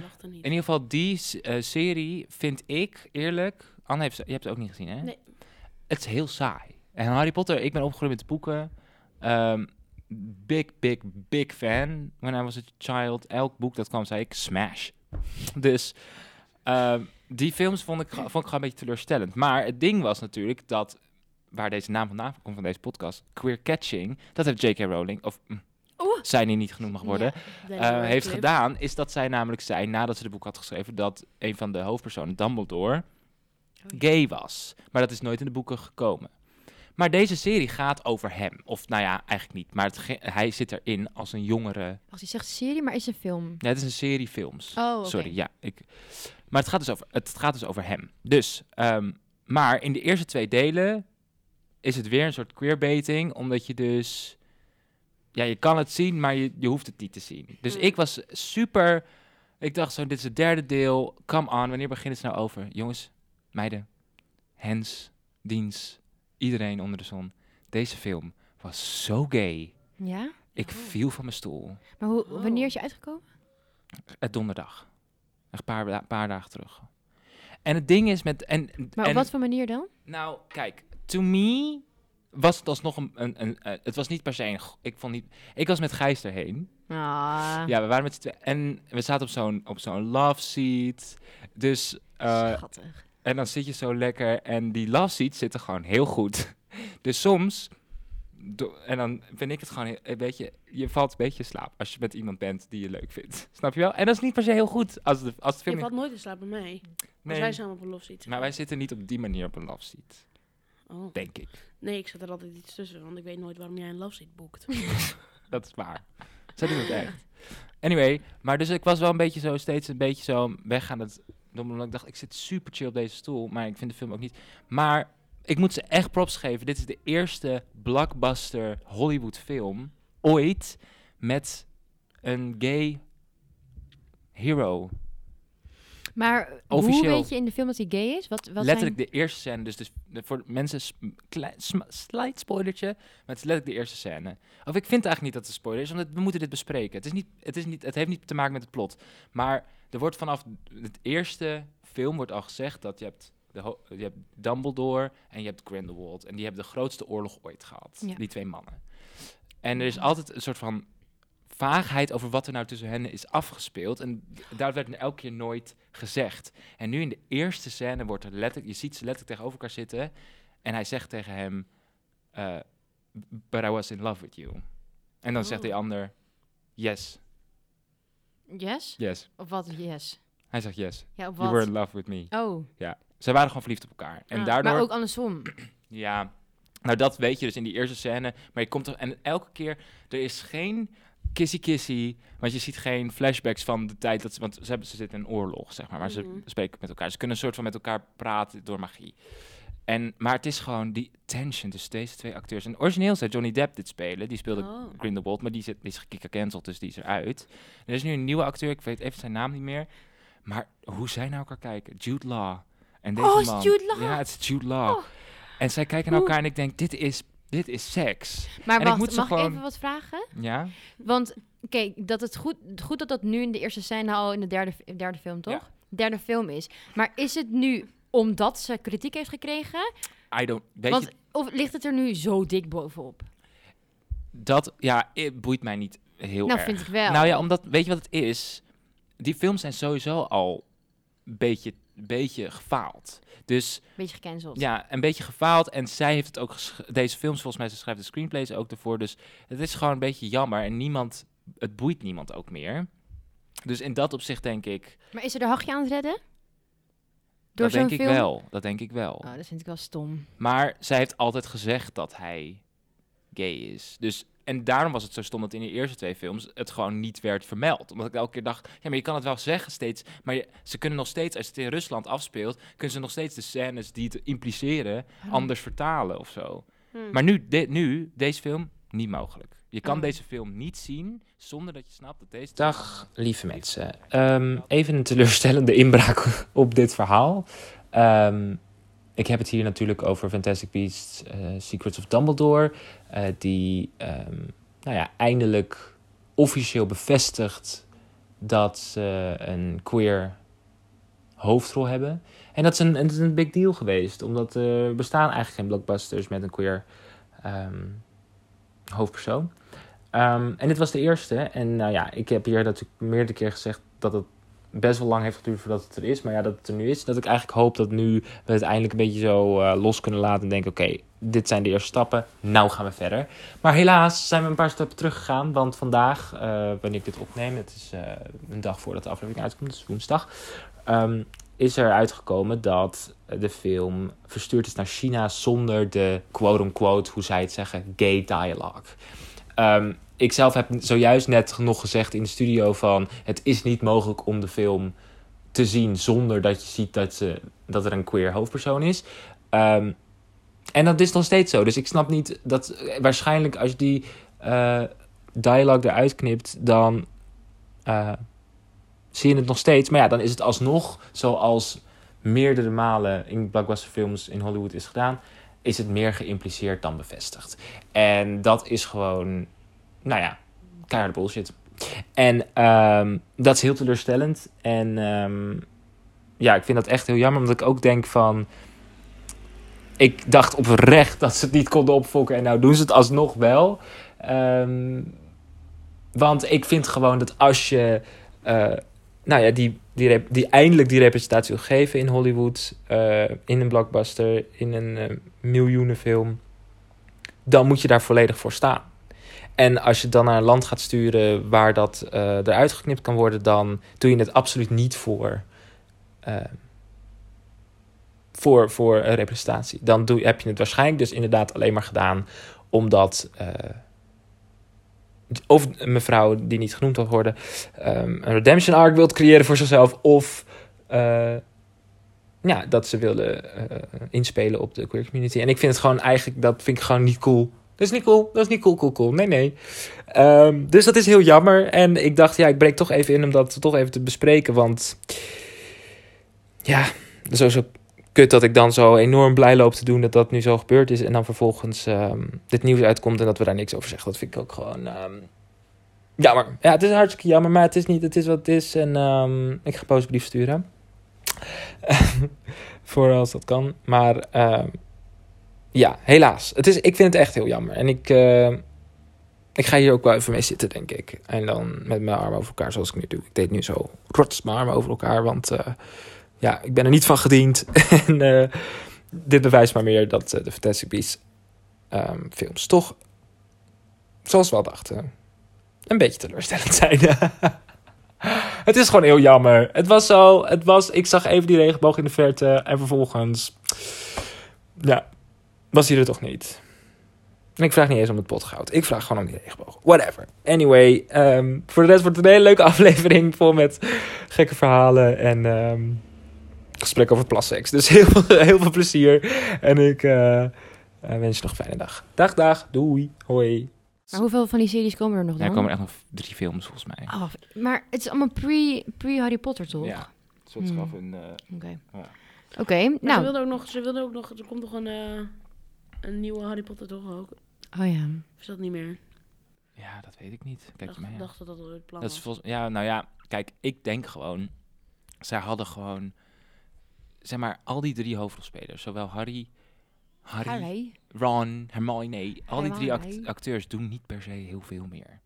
lach er niet. In ieder geval, die s- eh, serie vind ik, eerlijk... Anne, heeft, ze- je hebt het ook niet gezien, hè? Nee. Het is heel saai. En Harry Potter, ik ben opgegroeid met de boeken. Ehm, big, big, big fan. When I was a child, elk boek dat kwam, zei ik smash. Dus ehm, die films vond ik, vond ik gewoon een beetje teleurstellend. Maar het ding was natuurlijk dat, waar deze naam vandaan komt van deze podcast, Queer Catching, dat heeft J.K. Rowling, of mm, Oeh. zij die niet genoemd mag worden, Ja, dat eh, is wel heeft leuk. gedaan, is dat zij namelijk zei, nadat ze de boek had geschreven, dat een van de hoofdpersonen, Dumbledore, gay was. Maar dat is nooit in de boeken gekomen. Maar deze serie gaat over hem. Of nou ja, eigenlijk niet. Maar het ge- hij zit erin als een jongere. Als je zegt serie, maar is een film. Ja, het is een serie films. Oh, oké. Sorry, ja. Ik... Maar het gaat, dus over, het gaat dus over hem. Dus, ehm, maar in de eerste twee delen is het weer een soort queerbaiting, omdat je dus... Ja, je kan het zien, maar je, je hoeft het niet te zien. Dus Mm. ik was super... Ik dacht zo, dit is het derde deel. Come on, wanneer beginnen ze nou over? Jongens, meiden, Hens, Diens, iedereen onder de zon. Deze film was zo gay. Ja? Ik viel van mijn stoel. Maar hoe, Oh. wanneer is je uitgekomen? Het donderdag. Een paar, da- paar dagen terug. En het ding is met... En, Maar en, op wat voor manier dan? Nou, kijk. To me was het alsnog een... een, een eh, het was niet per se een... go- Ik, vond niet, ik was met Gijs erheen. Ah, Ja, we waren met z'n tweeën. En we zaten op zo'n, op zo'n love seat. Dus... eh, schattig. en dan zit je zo lekker. En die love seats zitten gewoon heel goed. Dus soms... do- en dan vind ik het gewoon heel- een beetje... Je valt een beetje in slaap als je met iemand bent die je leuk vindt. Snap je wel? En dat is niet per se heel goed als de, als de film... Je niet- valt nooit in slaap bij mij. Als Nee. wij samen op een lof zitten. Maar wij zitten niet op die manier op een love seat, Oh. denk ik. Nee, ik zet er altijd iets tussen, want ik weet nooit waarom jij een love seat boekt. Dat is waar. Zij doen het echt. Anyway, maar dus ik was wel een beetje zo, steeds een beetje zo weg aan het domme, omdat Ik dacht, ik zit super chill op deze stoel, maar ik vind de film ook niet. Maar ik moet ze echt props geven. Dit is de eerste blockbuster Hollywood film ooit met een gay hero. Maar eh, hoe Officieel. weet je in de film dat hij gay is? Wat, wat letterlijk de eerste scène. Dus, dus de- voor mensen, s- m- klein sm- slight spoilertje, maar het is letterlijk de eerste scène. Of ik vind eigenlijk niet dat het een spoiler is, want we moeten dit bespreken. Het, is niet, het, is niet, het heeft niet te maken met het plot. Maar er wordt vanaf het eerste film wordt al gezegd dat je hebt, de ho- je hebt Dumbledore en je hebt Grindelwald. En die hebben de grootste oorlog ooit gehad, Ja. die twee mannen. En er is altijd een soort van vaagheid over wat er nou tussen hen is afgespeeld. En daar werd elke keer nooit gezegd. En nu in de eerste scène wordt er letterlijk, je ziet ze letterlijk tegenover elkaar zitten. En hij zegt tegen hem, eh, but I was in love with you. En dan zegt Oh. die ander, yes, zijn... Yes? yes. Of wat yes? Hij zegt yes, Ja, op you were wat? in love with me. Oh, Ze waren gewoon verliefd op elkaar. En Ah, daardoor... maar ook andersom. Ja, nou dat weet je dus in die eerste scène. Maar je komt er en elke keer, er is geen kissy kissy, want je ziet geen flashbacks van de tijd dat ze, want ze, hebben, ze zitten in een oorlog, zeg maar, maar Mhm. ze spreken met elkaar. Ze kunnen een soort van met elkaar praten door magie. En, maar het is gewoon die tension tussen deze twee acteurs. En origineel zou Johnny Depp dit spelen, die speelde Oh. Grindelwald, maar die, zit, die is gecanceld, dus die is eruit. En er is nu een nieuwe acteur, ik weet even zijn naam niet meer. Maar hoe zij naar elkaar kijken, Jude Law. En deze Oh, is man. Jude Law? Ja, het is Jude Law. Oh. En zij kijken naar elkaar en ik denk, dit is, dit is seks. Maar ik wacht, moet ze mag ik gewoon- even wat vragen? Ja? Want, kijk, dat het goed, goed dat dat nu in de eerste scène al in de derde, derde film, toch? Ja. Derde film is. Maar is het nu omdat ze kritiek heeft gekregen? I don't... Weet Want, je, Of ligt het er nu zo dik bovenop? dat... Ja, het boeit mij niet heel nou, erg. vind ik wel. Nou ja, omdat... Weet je wat het is? Die films zijn sowieso al een beetje, beetje gefaald. Dus Beetje gecanceld. ja, een beetje gefaald. En zij heeft het ook... gesch- Deze films, volgens mij, ze schrijft de screenplays ook ervoor. Dus het is gewoon een beetje jammer. En niemand... Het boeit niemand ook meer. Dus in dat opzicht denk ik... Maar is ze er hachje aan het redden? Door dat zo'n denk ik film? wel. Dat denk ik wel. Oh, dat vind ik wel stom. Maar zij heeft altijd gezegd dat hij gay is. Dus, en daarom was het zo stom dat in de eerste twee films het gewoon niet werd vermeld. Omdat ik elke keer dacht, ja, maar je kan het wel zeggen steeds. Maar je- ze kunnen nog steeds, als het in Rusland afspeelt, kunnen ze nog steeds de scènes die het impliceren Ah. anders vertalen of zo. Hmm. Maar nu, dit nu, deze film, niet mogelijk. Je kan Oh. deze film niet zien zonder dat je snapt dat deze... Hmm. Dag, lieve mensen. Ehm, even een teleurstellende inbraak op dit verhaal. Ehm, ik heb het hier natuurlijk over Fantastic Beasts, eh, Secrets of Dumbledore. eh, die ehm, nou ja, eindelijk officieel bevestigt dat ze een queer hoofdrol hebben. En dat is een, het is een big deal geweest. Omdat er bestaan eigenlijk geen blockbusters met een queer ehm, hoofdpersoon. Ehm, en dit was de eerste. En nou ja, ik heb hier natuurlijk meerdere keer gezegd dat het best wel lang heeft geduurd voordat het er is. Maar ja, dat het er nu is. Dat ik eigenlijk hoop dat nu we het eindelijk een beetje zo eh, los kunnen laten. En denken, oké, dit zijn de eerste stappen. Nou gaan we verder. Maar helaas zijn we een paar stappen teruggegaan. Want vandaag, eh, wanneer ik dit opneem, het is eh, een dag voordat de aflevering uitkomt. Het is woensdag. ehm, is er uitgekomen dat de film verstuurd is naar China zonder de quote-unquote, hoe zij het zeggen, gay dialogue. Ehm, ik zelf heb zojuist net nog gezegd in de studio van... het is niet mogelijk om de film te zien zonder dat je ziet dat, ze, dat er een queer hoofdpersoon is. Ehm, en dat is nog steeds zo. Dus ik snap niet dat... eh, Waarschijnlijk als je die eh dialogue eruit knipt, dan eh, zie je het nog steeds. Maar ja, dan is het alsnog zoals meerdere malen in blockbuster films in Hollywood is gedaan... is het meer geïmpliceerd dan bevestigd. En dat is gewoon nou ja, keiharde bullshit. En ehm, dat is heel teleurstellend. En ehm, ja, ik vind dat echt heel jammer, omdat ik ook denk van... Ik dacht oprecht dat ze het niet konden opfokken en nou doen ze het alsnog wel. Ehm, want ik vind gewoon dat als je eh, nou ja, die, die, rep- die eindelijk die representatie wil geven in Hollywood, eh, in een blockbuster, in een eh, miljoenenfilm, dan moet je daar volledig voor staan. En als je het dan naar een land gaat sturen waar dat eh, eruit geknipt kan worden, dan doe je het absoluut niet voor, eh, voor, voor een representatie. Dan doe, heb je het waarschijnlijk dus inderdaad alleen maar gedaan omdat. eh, of een mevrouw die niet genoemd wil worden, ehm, een redemption arc wilt creëren voor zichzelf. Of eh, ja, dat ze willen eh, inspelen op de queer community. En ik vind het gewoon eigenlijk, dat vind ik gewoon niet cool. Dat is niet cool. Dat is niet cool, cool, cool. Nee, nee. Ehm, dus dat is heel jammer. En ik dacht, ja, ik breek toch even in om dat toch even te bespreken. Want ja, dat is sowieso kut dat ik dan zo enorm blij loop te doen dat dat nu zo gebeurd is. En dan vervolgens ehm, dit nieuws uitkomt en dat we daar niks over zeggen. Dat vind ik ook gewoon ehm, jammer. Ja, het is hartstikke jammer, maar het is niet. Het is wat het is. En ehm, ik ga postbrief sturen. Voor als dat kan. Maar ehm, ja, helaas. Het is, ik vind het echt heel jammer. En ik, eh, ik ga hier ook wel even mee zitten, denk ik. En dan met mijn armen over elkaar, zoals ik nu doe. Ik deed nu zo rots mijn armen over elkaar, want eh, ja, ik ben er niet van gediend. en eh, dit bewijst maar meer dat eh, de Fantastic Beasts ehm, films toch, zoals we al dachten, een beetje teleurstellend zijn. Het is gewoon heel jammer. Het was zo. Het was, ik zag even die regenboog in de verte. En vervolgens. Ja, was hij er toch niet. En ik vraag niet eens om het potgoud. Ik vraag gewoon om die regenboog. Whatever. Anyway, ehm, voor de rest wordt het een hele leuke aflevering vol met gekke verhalen en ehm gesprekken over plasseks. Dus heel, veel- heel veel plezier. En ik eh, eh, wens je nog een fijne dag. Dag, dag. Doei. Hoi. Maar hoeveel van die series komen er nog Ja, dan? er komen echt nog drie films volgens mij. Oh, maar het is allemaal pre- pre-Harry Potter, toch? Ja. Zo Hmm. het is gewoon een... Oké. Ja. Oké, Maar Ze nou. wilden ook nog, ze wilden ook nog, er komt nog een, eh, een nieuwe Harry Potter toch ook? Oh ja. Of is dat niet meer? Ja, dat weet ik niet. Ik Kijk je dacht, mij aan. dacht dat dat al het plan Dat was. is volgens ja, nou ja, kijk, ik denk gewoon, zij hadden gewoon, zeg maar, al die drie hoofdrolspelers, zowel Harry, Harry, Harry. Ron, Hermione, al die drie act- Hermione. acteurs doen niet per se heel veel meer.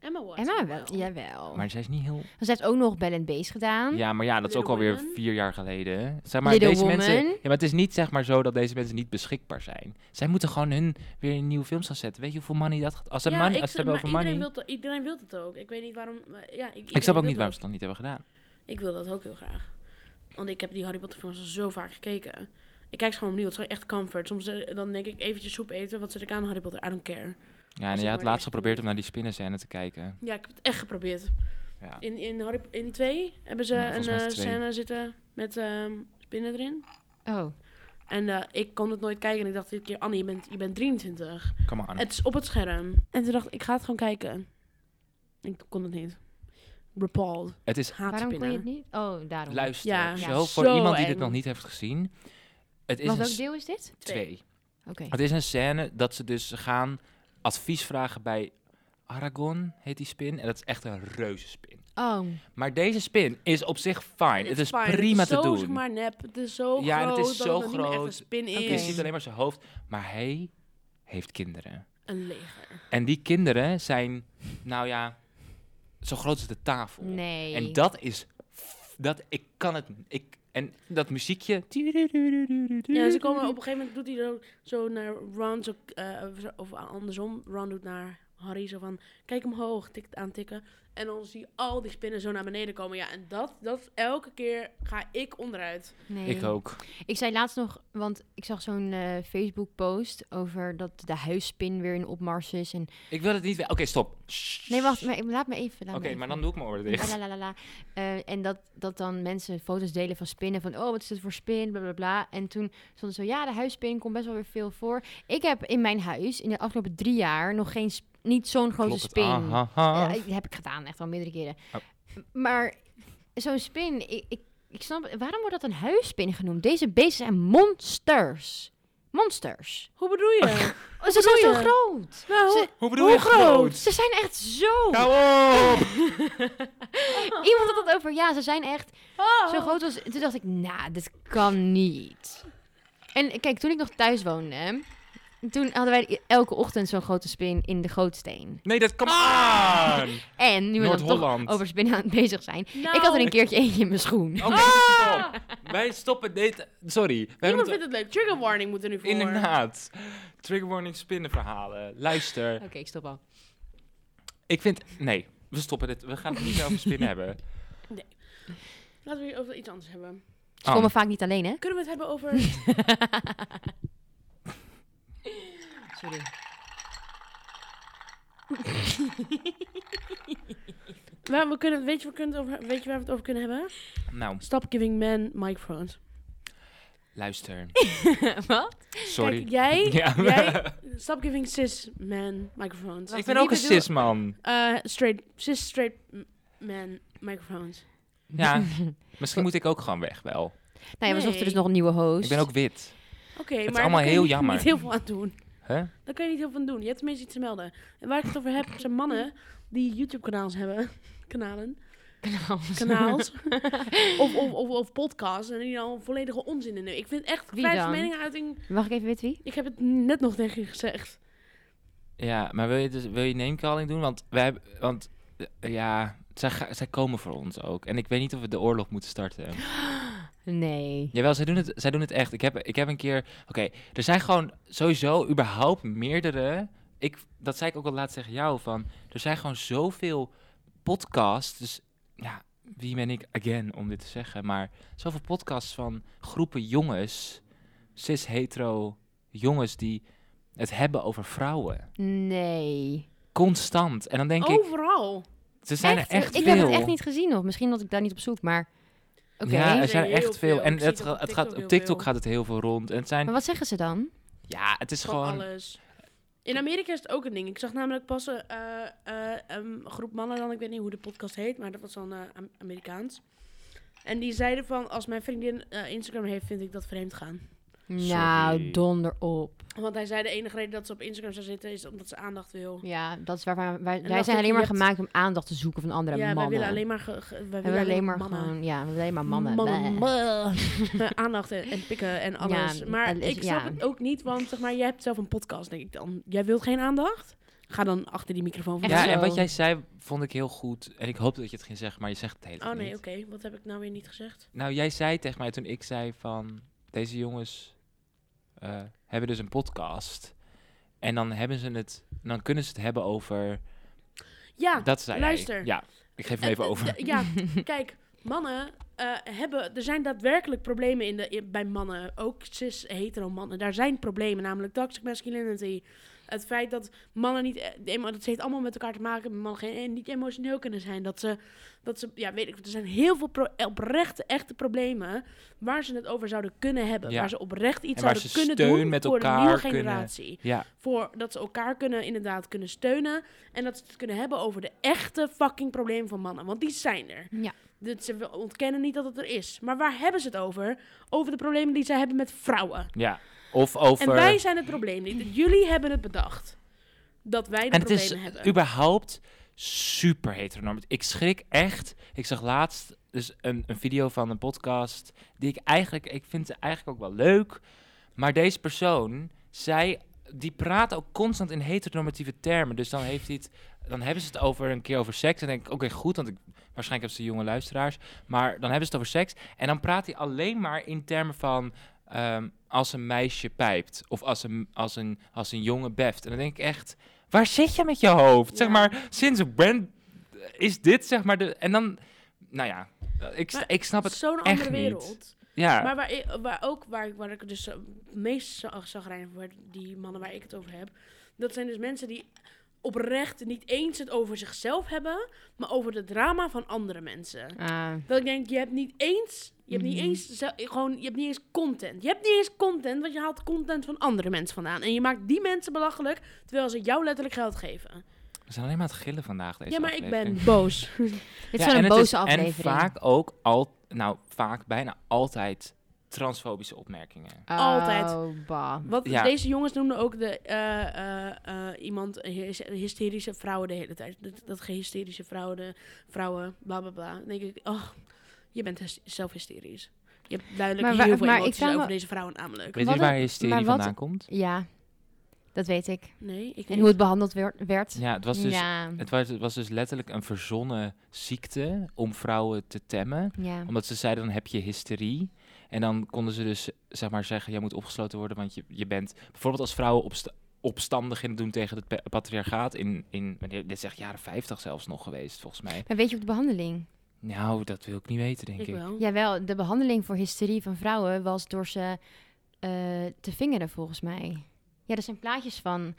Emma Watson. Emma wel. Ja. Jawel. Maar zij is niet heel. Ze heeft ook nog Bell and Base gedaan. Ja, maar ja, dat is ook Hm? Little alweer Women. vier jaar geleden. Zeg maar, Little deze mensen. Women. Ja, maar het is niet zeg maar zo dat deze mensen niet beschikbaar zijn. Zij moeten gewoon hun weer in nieuwe films gaan zetten. Weet je hoeveel money dat gaat? Als ze Ja, money, ik als ze snap- hebben maar over money. iedereen wil dat- Iedereen wil het ook. Ik weet niet waarom... maar Ja, ik, Ik snap ook wil niet dat. waarom ze dat niet hebben gedaan. Ik wil dat ook heel graag. Want ik heb die Harry Potter films al zo vaak gekeken. Ik kijk ze gewoon opnieuw. Het is gewoon echt comfort. Soms eh, dan denk ik eventjes soep eten. Wat zit ik aan Harry Potter? I don't care. Ja, en het jij had maar laatst Dus echt geprobeerd gebeurt. om naar die spinnenscène te kijken. Ja, ik heb het echt geprobeerd. Ja. In, in, Harry, in twee hebben ze Ja, volgens een mij is eh, het twee. scène zitten met ehm spinnen erin. Oh. En eh, ik kon het nooit kijken. En ik dacht dit keer, Annie, je bent, je bent 23. Kom maar aan. Het is op het scherm. En toen dacht ik, ik ga het gewoon kijken. Ik kon het niet. Repalled. Het is Haat Waarom kon je spinnen. het niet? Oh, daarom. luister. Ja, zo, ja, voor zo iemand die dit eng. nog niet heeft gezien. Het is dus- een Wat welk s- deel is dit? twee. Oké. Het is een scène dat ze dus gaan advies vragen bij Aragon, heet die spin. En dat is echt een reuze spin. Oh. Maar deze spin is op zich fijn. Het is fijn. prima Het is te zo, doen. Zeg maar nep. Het is zo Ja, en groot. het is dat zo het nog niet meer echt groot. een spin Oké. Je is. ziet alleen maar zijn hoofd. Maar hij heeft kinderen. Een leger. En die kinderen zijn, nou ja, zo groot als de tafel. Nee. En dat is, f- dat, ik kan het, ik, en dat muziekje. Ja, ze komen op een gegeven moment doet hij zo, zo naar Ron, zo, eh, of zo- of andersom. Ron doet naar Harry zo van, kijk omhoog, tikt aantikken. En dan zie je al die spinnen zo naar beneden komen. Ja, en dat, dat elke keer ga ik onderuit. nee. Ik ook. Ik zei laatst nog, want ik zag zo'n eh, Facebook-post over dat de huisspin weer in opmars is. En... Ik wil het niet. we- Oké, stop. Nee, wacht, maar, laat me even. laat Oké, me even. maar dan doe ik mijn oren dicht. Ah, La, la, la, la, la. Eh, en dat, dat dan mensen foto's delen van spinnen. Van, oh, wat is dit voor spin? Bla, bla, bla. En toen stond het zo, ja, de huisspin komt best wel weer veel voor. Ik heb in mijn huis in de afgelopen drie jaar nog geen, sp- niet zo'n grote Klopt het. spin. Ah, ah, Ja, ah. dat heb ik gedaan, echt al meerdere keren. Oh. Maar zo'n spin, ik, ik, ik snap, waarom wordt dat een huisspin genoemd? Deze beesten zijn monsters. Monsters. Hoe bedoel je? Oh, ze zijn zo je? groot. nou, Ze- Hoe bedoel Hoe je groot? Ze zijn echt zo. Hou op! Iemand had het over, ja, ze zijn echt oh. Zo groot was. Toen dacht ik, nou, dit kan niet. En kijk, toen ik nog thuis woonde, hè, toen hadden wij elke ochtend zo'n grote spin in de gootsteen. Nee, dat kan aan! En nu we dan Noord-Holland. toch over spinnen aan het bezig zijn, Nou, Oh. ik had er een keertje eentje in mijn schoen. Oké, stop. Wij stoppen dit. Sorry. Wij Niemand moeten vindt het leuk. Trigger warning moet er nu voor. inderdaad. Trigger warning spinnenverhalen. Luister. Oké, ik stop al. Ik vind. Nee, we stoppen dit. We gaan het niet meer over spinnen hebben. Laten we hier over iets anders hebben. Ze Ah, komen vaak niet alleen, hè? Kunnen we het hebben over... Sorry. waar Nou, we kunnen, weet, je, we kunnen het over weet je waar we het over kunnen hebben? Nou, Stop giving men microphones. luister. Wat? Sorry. Kijk, jij... Ja. jij stop giving cis men microphones. ik ben ook een bedoel- cis man. Eh, straight, cis straight m- men microphones. Ja, misschien moet ik ook gewoon weg wel. Nou ja, we zochten Nee. dus nog een nieuwe host. Ik ben ook wit. Oké, is maar daar allemaal kun je heel niet- jammer. niet heel veel aan doen. Hè? Daar kan je niet heel veel aan doen. Je hebt tenminste iets te melden. En waar ik het over heb, zijn mannen die YouTube-kanaals hebben. Kanalen. Kanaals. of, of, of, of podcasts. En die dan volledige onzin in doen. Ik vind echt Wie vijf dan? meningen uiting. Mag ik even weten wie? Ik heb het net nog tegen je gezegd. Ja, maar wil je, dus, wil je namecalling doen? Want, wij, hebben- want eh, ja, zij, ga- zij komen voor ons ook. En ik weet niet of we de oorlog moeten starten. Nee. Jawel, zij doen het, zij doen het echt. Ik heb, ik heb een keer... Oké, er zijn gewoon sowieso überhaupt meerdere... Ik, dat zei ik ook al laatst tegen jou, van... Er zijn gewoon zoveel podcasts. Dus ja, wie ben ik again om dit te zeggen? Maar zoveel podcasts van groepen jongens... Cis-hetero jongens die het hebben over vrouwen. Nee. Constant. En dan denk ik... Overal. Ze zijn er echt ik veel. heb het Oh, echt niet gezien nog. Misschien dat ik daar niet op zoek, maar... Oké. Ja, er Nee, zijn er heel echt veel. veel. En Ik zie het, het op gaat- het gaat, TikTok op heel TikTok veel. gaat het heel veel rond. En het zijn, Maar wat zeggen ze dan? ja, het is Van gewoon... alles. In Amerika is het ook een ding. Ik zag namelijk pas eh, eh, eh, een groep mannen dan, ik weet niet hoe de podcast heet, maar dat was dan eh, Am- Amerikaans. En die zeiden van, als mijn vriendin eh, Instagram heeft, vind ik dat vreemd gaan. Nou, Sorry. donder op. Want hij zei de enige reden dat ze op Instagram zou zitten, is omdat ze aandacht wil. Ja, dat is waarvan wij, wij dacht zijn ik, alleen je maar hebt- gemaakt om aandacht te zoeken van andere ja, wij mannen. willen alleen maar, ge- ge- wij we willen alleen maar mannen. gewoon, ja, we willen alleen maar mannen. Bleh. bleh. aandacht en, en pikken en alles. Ja, maar dat is- ik snap ja. het ook niet, want zeg maar, jij hebt zelf een podcast, denk ik dan. Jij wilt geen aandacht? Ga dan achter die microfoon van Echt Ja, en zo. wat jij zei vond ik heel goed. En ik hoop dat je het ging zeggen, maar je zegt het helemaal Oh nee, niet. oké. Wat heb ik nou weer niet gezegd? Nou, jij zei tegen mij toen ik zei van... Deze jongens eh, hebben dus een podcast. En dan hebben ze het... Dan kunnen ze het hebben over... Ja, dat zei jij. luister. Ja, ik geef hem even Eh, over. eh, Ja, kijk, mannen eh, hebben... Er zijn daadwerkelijk problemen in de, in- bij mannen. Ook cis-hetero mannen. Daar zijn problemen, namelijk toxic masculinity. Het feit dat mannen niet... eh, emo- Dat heeft allemaal met elkaar te maken. dat Mannen geen, eh, niet emotioneel kunnen zijn. Dat ze... Dat ze ja, weet ik, er zijn heel veel pro- oprechte, echte problemen... waar ze het over zouden kunnen hebben. Ja. Waar ze oprecht iets En waar zouden ze kunnen steun doen met voor de elkaar nieuwe kunnen- generatie ja, voor dat ze elkaar kunnen inderdaad kunnen steunen en dat ze het kunnen hebben over de echte fucking problemen van mannen, want die zijn er. Ja. Dat ze ontkennen niet dat het er is, maar waar hebben ze het over? Over de problemen die zij hebben met vrouwen. ja. Of eh, over... En wij zijn het probleem niet. Jullie hebben het bedacht dat wij de En het problemen is hebben. überhaupt super heteronormatief. Ik schrik echt. Ik zag laatst dus een, een video van een podcast die ik eigenlijk, ik vind ze eigenlijk ook wel leuk. Maar deze persoon, zij die praten ook constant in heteronormatieve termen. Dus dan, heeft hij het, dan hebben ze het over een keer over seks. En dan denk ik, oké, goed, want ik, waarschijnlijk hebben ze jonge luisteraars. Maar dan hebben ze het over seks. En dan praat hij alleen maar in termen van ehm, als een meisje pijpt. Of als een, als, een, als een jongen beft. En dan denk ik echt, waar zit je met je hoofd? Zeg Ja. maar, sinds when is dit, zeg maar, de... En dan, nou ja, ik, s- Maar ik snap het Zo'n echt andere niet. wereld. Ja. Maar waar, ik- waar ook waar ik, waar ik dus eh, het meest za- zagrijnig voor werd, die mannen waar ik het over heb, dat zijn dus mensen die oprecht niet eens het over zichzelf hebben, maar over het drama van andere mensen. Ah, Dat ik denk, je hebt niet eens, je hebt niet Mhm. eens, ze- gewoon, je hebt niet eens content. Je hebt niet eens content, want je haalt content van andere mensen vandaan. En je maakt die mensen belachelijk, terwijl ze jou letterlijk geld geven. We zijn alleen maar aan het gillen vandaag deze ja, maar aflevering. ik ben boos. dit Ja, is wel en een het boze is- aflevering. En vaak ook al, nou vaak bijna altijd transfobische opmerkingen. Oh, altijd. bah. Wat Ja. deze jongens noemden ook de, eh, eh, eh, iemand hys- hysterische vrouwen de hele tijd. Dat, dat ge- hysterische vrouwen, de- vrouwen, bla bla bla. Dan denk ik, oh, je bent hys- zelf hysterisch. Je hebt duidelijk Maar wa- heel veel maar ik emoties vraag me- over deze vrouwen namelijk. Weet Wat je waar het- hysterie maar wat- vandaan komt? Ja, dat weet ik. Nee, ik En niet. hoe het behandeld wer- werd. Ja, het was dus, ja. het was, het was dus letterlijk een verzonnen ziekte om vrouwen te temmen. ja. Omdat ze zeiden, dan heb je hysterie. En dan konden ze dus, zeg maar, zeggen, jij moet opgesloten worden, want je, je bent... Bijvoorbeeld als vrouwen opsta- opstandig in doen tegen het pa- patriarchaat in, in wanneer- dit is echt jaren 50 zelfs nog geweest, volgens mij. Maar weet je ook de behandeling? Nou, dat wil ik niet weten, denk Ik ik. wel. Jawel, de behandeling voor hysterie van vrouwen was door ze eh, te vingeren, volgens mij. Ja, er zijn plaatjes van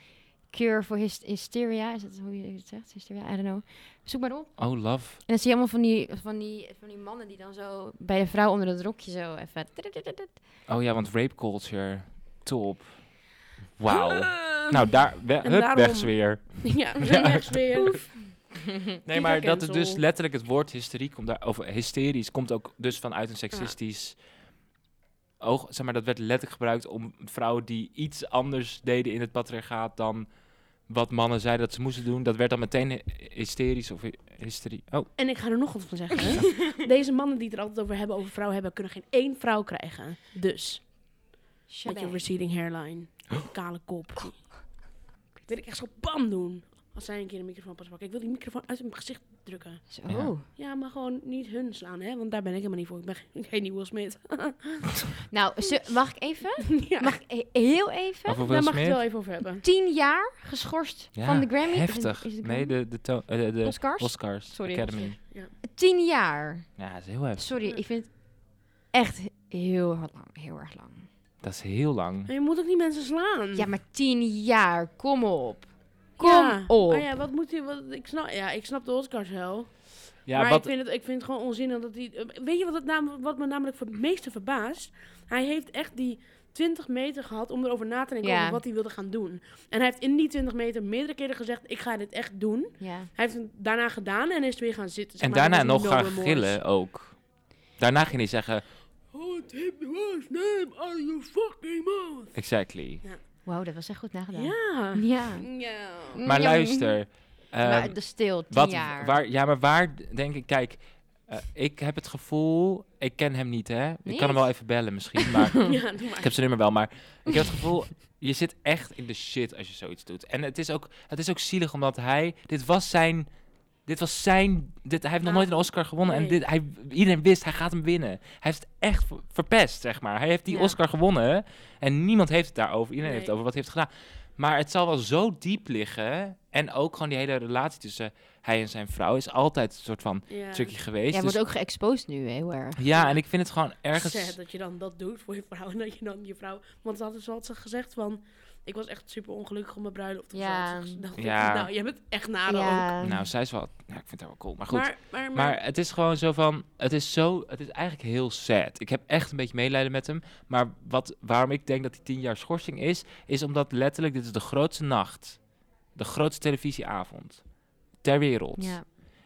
Cure for Hys- Hysteria, is dat hoe je het zegt? Hysteria, I don't know. Zoek maar op. Oh, love. En dan zie je allemaal van die, van, die, van die mannen die dan zo bij de vrouw onder het rokje zo even... Oh ja, want rape culture. Top. Wauw. nou, daar we, En hup, daarom- weg weer. Ja, we zijn Ja. echt weer. Nee, maar dat is dus cancel. letterlijk het woord hysterie komt daar, of hysterisch komt ook dus vanuit een seksistisch oog. Zeg maar, dat werd letterlijk gebruikt om vrouwen die iets anders deden in het patriarchaat dan wat mannen zeiden dat ze moesten doen. Dat werd dan meteen hy- hysterisch of hy- hysterie. Oh, En ik ga er nog wat van zeggen. Deze mannen die het er altijd over hebben, over vrouwen hebben, kunnen geen één vrouw krijgen. Dus, met je Shabang. receding hairline, je kale kop. Wil ik echt zo bam doen. Als zij een keer een microfoon pas pakken. Ik wil die microfoon uit hun gezicht drukken. Zo. Ja. Ja, maar gewoon niet hun slaan, hè? Want daar ben ik helemaal niet voor. Ik ben geen- geen nieuwe Will Smith. Nou, ze- mag ik even? ja, Mag ik he- heel even? over Will daar mag ik het Smith? wel even over hebben. Tien jaar geschorst Ja, van de Grammy. Is het- Heftig. is het de nee, Grammy? de, de, to- eh, de, de Oscars? Oscars Sorry. Academy. Ja. Tien jaar. Ja, dat is heel heftig. Sorry, ik vind het echt heel hard lang. Heel erg lang. Dat is heel lang. Maar je moet ook niet mensen slaan. Ja, maar tien jaar. Kom op. Kom Mm. Ja. op. Oh ja, wat moet hij... Wat, ik, snap, ja, ik snap de Oscars wel. Ja, maar wat, ik, vind het, ik vind het gewoon onzin dat hij... eh, Weet je wat, het nam, wat me namelijk voor het meeste verbaast? Hij heeft echt die 20 meter gehad om erover na te denken Ja. over wat hij wilde gaan doen. En hij heeft in die 20 meter meerdere keren gezegd, ik ga dit echt doen. Ja. Hij heeft het daarna gedaan en is weer gaan zitten. zeg En maar, daarna dat is nog no gaan remorse. gillen ook. Daarna ging hij zeggen, Oh, take my name out of your fucking mouth. exactly. Wauw, dat was echt goed nagedaan. Ja. Ja. Ehm, Ja. Maar Ja. luister, ehm, maar de stil, tien wat, jaar. waar, ja, maar waar d- denk ik, kijk, eh, ik heb het gevoel, ik ken hem niet hè, ik Niet? kan hem wel even bellen misschien, maar Ja, doe maar. ik heb zijn nummer wel, maar ik heb het gevoel, je zit echt in de shit als je zoiets doet. En het is ook, het is ook zielig omdat hij, dit was zijn, dit was zijn, dit, hij heeft nog Ah, nooit een Oscar gewonnen en nee. dit, hij, iedereen wist, hij gaat hem winnen. Hij heeft het echt ver- verpest, zeg maar. Hij heeft die Ja. Oscar gewonnen en niemand heeft het daarover, iedereen heeft het Nee. over wat hij heeft gedaan. Maar het zal wel zo diep liggen en ook gewoon die hele relatie tussen hij en zijn vrouw is altijd een soort van Ja. tricky geweest. Jij Dus- wordt ook geëxposed nu, heel erg. ja, en ik vind het gewoon ergens... Sad dat je dan dat doet voor je vrouw en dat je dan je vrouw... Want dat is wat ze gezegd van... Ik was echt super ongelukkig op mijn bruiloft. Of Ja. zo. Dus dacht ik, Ja. Nou, jij bent echt nader ook. Ja. Nou, zij is wel... Nou, ik vind haar wel cool, maar goed. Maar, maar, maar, Maar het is gewoon zo van, het is zo, het is eigenlijk heel sad. Ik heb echt een beetje medelijden met hem. Maar wat, waarom ik denk dat die tien jaar schorsing is, is omdat letterlijk dit is de grootste nacht. De grootste televisieavond ter wereld. ja.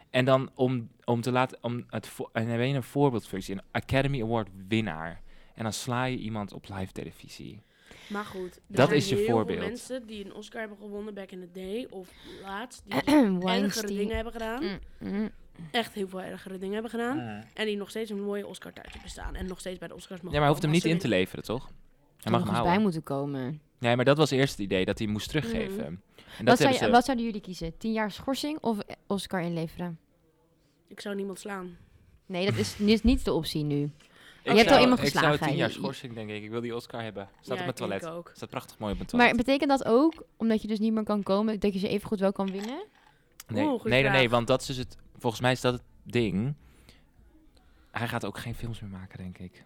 En dan om, om te laten, om het, vo- en dan ben je een voorbeeldfunctie, een Academy Award winnaar. En dan sla je iemand op live televisie. maar goed, er dat zijn is je heel voorbeeld. Veel mensen die een Oscar hebben gewonnen back in the day of laatst, die ergere dingen Weinstein. hebben gedaan. Mm, mm. Echt heel veel ergere dingen hebben gedaan. En die nog steeds een mooie Oscar thuis bestaan. En nog steeds bij de Oscars mogen Ja, maar hij hoeft hem niet in te komen. leveren, toch? Hij Er mag nog hem eens bij houden. moeten komen. Nee, maar dat was eerst het idee, dat hij moest teruggeven. En Mm. Wat, dat zou hebben je- ze... wat zouden jullie kiezen? 10 jaar schorsing of Oscar inleveren? Ik zou niemand slaan. Nee, dat is, is niet de optie nu. Ik je hebt al zou- iemand Ik geslagen, zou tien jaar hè? schorsing, denk ik. Ik wil die Oscar hebben. Staat Ja, op mijn ik denk toilet. ook. Staat prachtig mooi op mijn toilet. Maar betekent dat ook, omdat je dus niet meer kan komen, dat je ze even goed wel kan winnen? Nee, Oeh, goeie nee, nee, nee, vraag. want dat is dus het. Volgens mij is dat het ding. Hij gaat ook geen films meer maken, denk ik.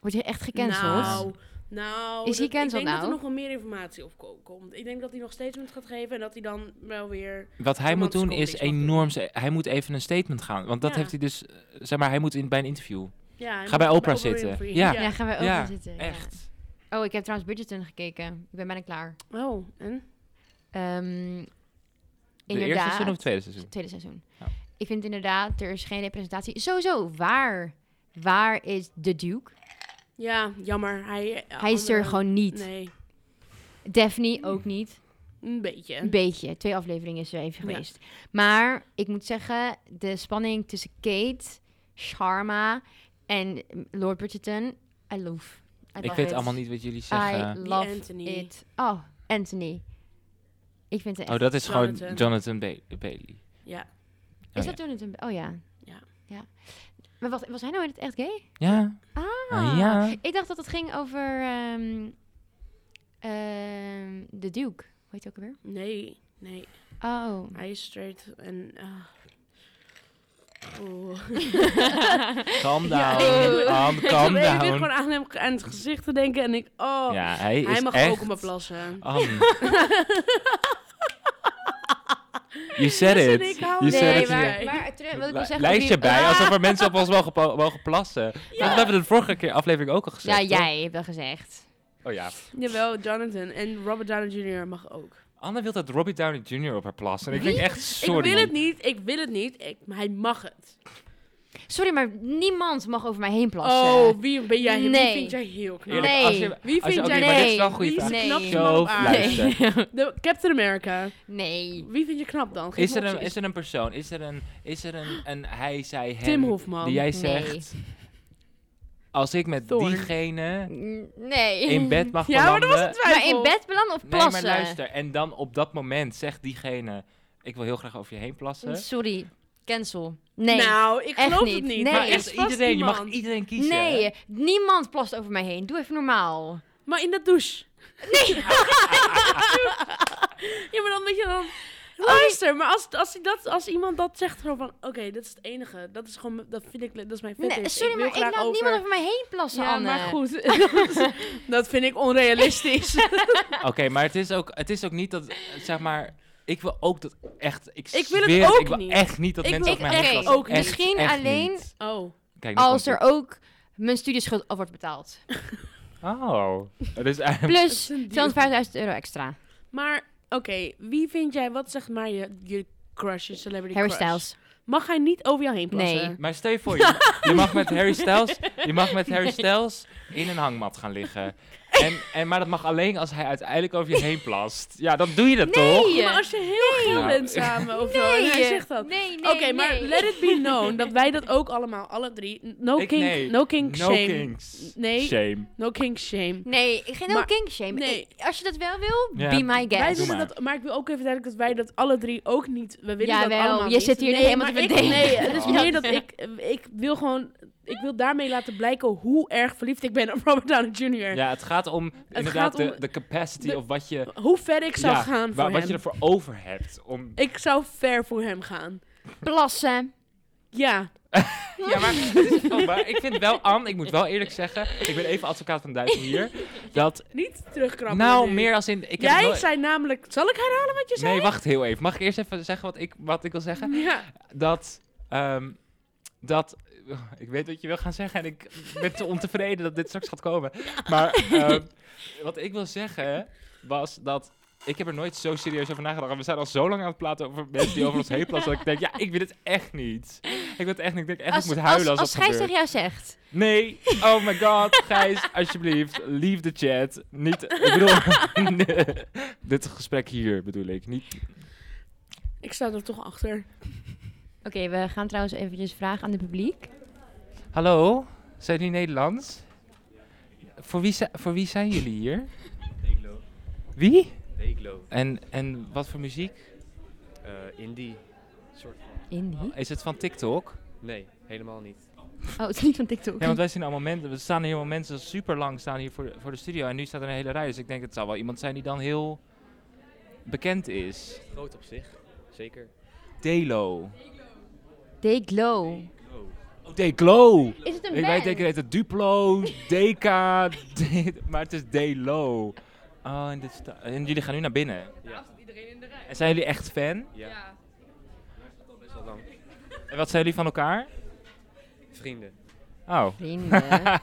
Word je echt gecanceld? Nou, nou Is hij dat- Ik denk cancelled dat er nou? nog wel meer informatie op ko- komt. Ik denk dat hij nog statement gaat geven en dat hij dan wel weer... Wat hij Iemand moet doen scoort is iets wat doen. enorm. ze- Hij moet even een statement gaan. Want dat Ja. heeft hij dus. eh, Zeg maar, hij moet in, bij een interview. Ja, hij Ga moet bij Oprah zitten. Winfrey. Ja. Ja, gaan we ook Ja, gaan zitten. ja. Echt. Oh, ik heb trouwens Bridgerton gekeken. Ik ben bijna klaar. Oh, en? Ehm, De eerste inderdaad. seizoen of het tweede seizoen? tweede seizoen. Ja. Ik vind inderdaad, er is geen representatie. Sowieso, waar, waar is de Duke? Ja, jammer. Hij, eh, Hij is er andere- gewoon niet. Nee, Daphne ook niet. een beetje. Een beetje. Twee afleveringen is er even Ja. geweest. Maar ik moet zeggen, de spanning tussen Kate, Sharma en Lord Bridgerton, I love. I Ik love weet it. allemaal niet wat jullie I zeggen. love Die Anthony. it. Oh, Anthony. Ik vind het echt... Oh, dat is gewoon Jonathan. Jonathan Ba- Bailey. Ja. Oh, is dat Jonathan? Oh ja. Ja. ja. Maar wacht, was hij nou in het echt gay? Ja. Ah, ja. Ik dacht dat het ging over ehm, ehm, de Duke. Hoe heet hij ook alweer? Nee, nee. Oh. Hij is straight en... ah. Oeh. Calm Ja, down. ik- Calm, Ik calm zat even gewoon down. aan hem aan het gezicht te denken en ik... Oh, Ja, hij is hij mag echt... ook op me plassen. Anne. You said Yes, it. en ik hou You het. said Nee, it. maar- Yeah. Jij. maar terug, wat ik wil Li- zeggen... Lijst je over die- bij, Ah! alsof er mensen op ons mogen, po- mogen plassen. Dat hebben we de vorige keer aflevering ook al gezegd. Ja, toch? jij hebt dat gezegd. Oh ja. Jawel, Jonathan. En Robert Downey Jr. mag ook. Anne wil dat Robbie Downey Jr. op haar plassen. En ik denk echt, sorry. Ik wil het niet, ik wil het niet, ik, maar hij mag het. Sorry, maar niemand mag over mij heen plassen. Oh, wie ben jij? Nee. Wie vind jij heel knap? Eerlijk, Nee. als je, Wie als je vind ook niet- jij... maar dit is wel Nee. een goede Wie is vraag. de Nee. knapste man Zo, op aarde? Nee. luister. De Captain America. Nee. Wie vind je knap dan? Geef Is er, me een, opties. is er een persoon, is er een, is er een, een hij, zij, hem, Tim Hofman. die jij Nee. zegt, als ik met Thorn. diegene Nee. in bed mag Ja, maar belanden... dat was het Maar twijfel. in bed belanden of plassen? Nee, maar luister. En dan op dat moment zegt diegene... Ik wil heel graag over je heen plassen. Sorry. Cancel. Nee. Nou, ik Echt geloof niet. het niet. Nee. Maar maar er is echt vast iedereen, je mag iemand. iedereen kiezen. Nee, niemand plast over mij heen. Doe even normaal. Maar in de douche. Nee. ja, maar dan weet je dan... Luister, maar als, als, hij dat, als iemand dat zegt, gewoon van... Oké, dat is het enige. Dat is gewoon... Dat vind ik... Dat is mijn fetish. Nee, sorry, ik wil maar ik graag laat over... niemand over mij heen plassen, Ja, Anne. maar goed. dat vind ik onrealistisch. Oké, maar het is, ook, het is ook niet dat... eh, Zeg maar... Ik wil ook dat echt... Ik, Ik wil het zweer ook ik wil niet. echt niet dat Ik mensen wil op mij echt heen plassen. ook niet. Echt, Misschien echt alleen niet. Oh. Kijk, nu Als er komt ook mijn studieschuld al wordt betaald. het. Oh. Het is eigenlijk... Plus een deal. 250.000 euro extra. Maar, oké. wie vind jij... Wat zegt maar je, je crush, je celebrity Harry crush? Styles. Mag hij niet over jou heen plassen? Nee. Maar stel je voor, je, je mag met Harry Styles, je mag met Harry Styles in een hangmat gaan liggen. En, en, maar dat mag alleen als hij uiteindelijk over je heen plast. Ja, dan doe je dat toch? Nee. Maar als je heel Nee. geel bent Nou, samen of zo, en hij zegt dat. Nee, nee, Oké, maar let it be known dat wij dat ook allemaal, alle drie. n- No Ik- kink, nee. no kink no shame. Kinks. Nee. Shame. No kink shame. Nee, geen no Maar- kink shame. nee. Ik- als je dat wel wil, Ja, be Wij my doe guest. doen maar. dat, maar ik wil ook even duidelijk dat wij dat alle drie ook niet. We willen dat Jawel, allemaal je niet. zit hier nee, helemaal maar te ik- verdedigen. Nee, het is Oh. meer dat ik, ik wil gewoon, ik wil daarmee laten blijken hoe erg verliefd ik ben op Robert Downey Jr. Ja, het gaat om inderdaad gaat om de, de capacity de- of wat je, Hoe ver ik zou ja, gaan voor wa- wat hem. je ervoor over hebt. Om... Ik zou ver voor hem gaan. Plassen. Ja. Ja, maar het is wel waar. ik vind wel, Anne, ik moet wel eerlijk zeggen, ik ben even advocaat van Duivel hier, dat Niet terugkrabben. nou nu. meer als in... Ik heb Jij wel- zei namelijk. Zal ik herhalen wat je zei? Nee, wacht heel even. Mag ik eerst even zeggen wat ik, wat ik wil zeggen? Ja. dat, ehm, dat ik weet wat je wil gaan zeggen en ik ben te ontevreden dat dit straks gaat komen. Maar ehm, wat ik wil zeggen was dat ik heb er nooit zo serieus over nagedacht. En we zijn al zo lang aan het praten over mensen die over ons heen plassen dat ik denk, ja, ik wil het echt niet. Ik wil het echt niet. Ik denk echt, Als, ik moet huilen als, als dat Gijs gebeurt. tegen jou zegt. Nee, oh my god, Gijs, alsjeblieft, leave de chat. Niet, ik bedoel, dit gesprek hier bedoel ik. Niet, Ik sta er toch achter. Oké, we gaan trouwens eventjes vragen aan de publiek. Hallo, zijn jullie Nederlands? Voor wie, zi- voor wie zijn jullie hier? Wie? Deglo. En, en wat voor muziek? eh indie. Soort van. Indie? Is het van TikTok? Nee, helemaal niet. Oh, het is niet van TikTok. Ja, want wij zien allemaal mensen. We staan hier allemaal mensen super lang staan hier voor, voor de studio. En nu staat er een hele rij. Dus ik denk, het zal wel iemand zijn die dan heel bekend is. Groot op zich. Zeker. Delo. They Glow. Oh. Oh, Deglo. Is het een Ik, band? wij denken het heet Duplo, DK, D- maar het is Delo. Oh, en, dit sta- en jullie gaan nu naar binnen. Ja. En zijn jullie echt fan? Ja. Best wel lang. En wat zijn jullie van elkaar? Vrienden. Oh. Vrienden. Eh,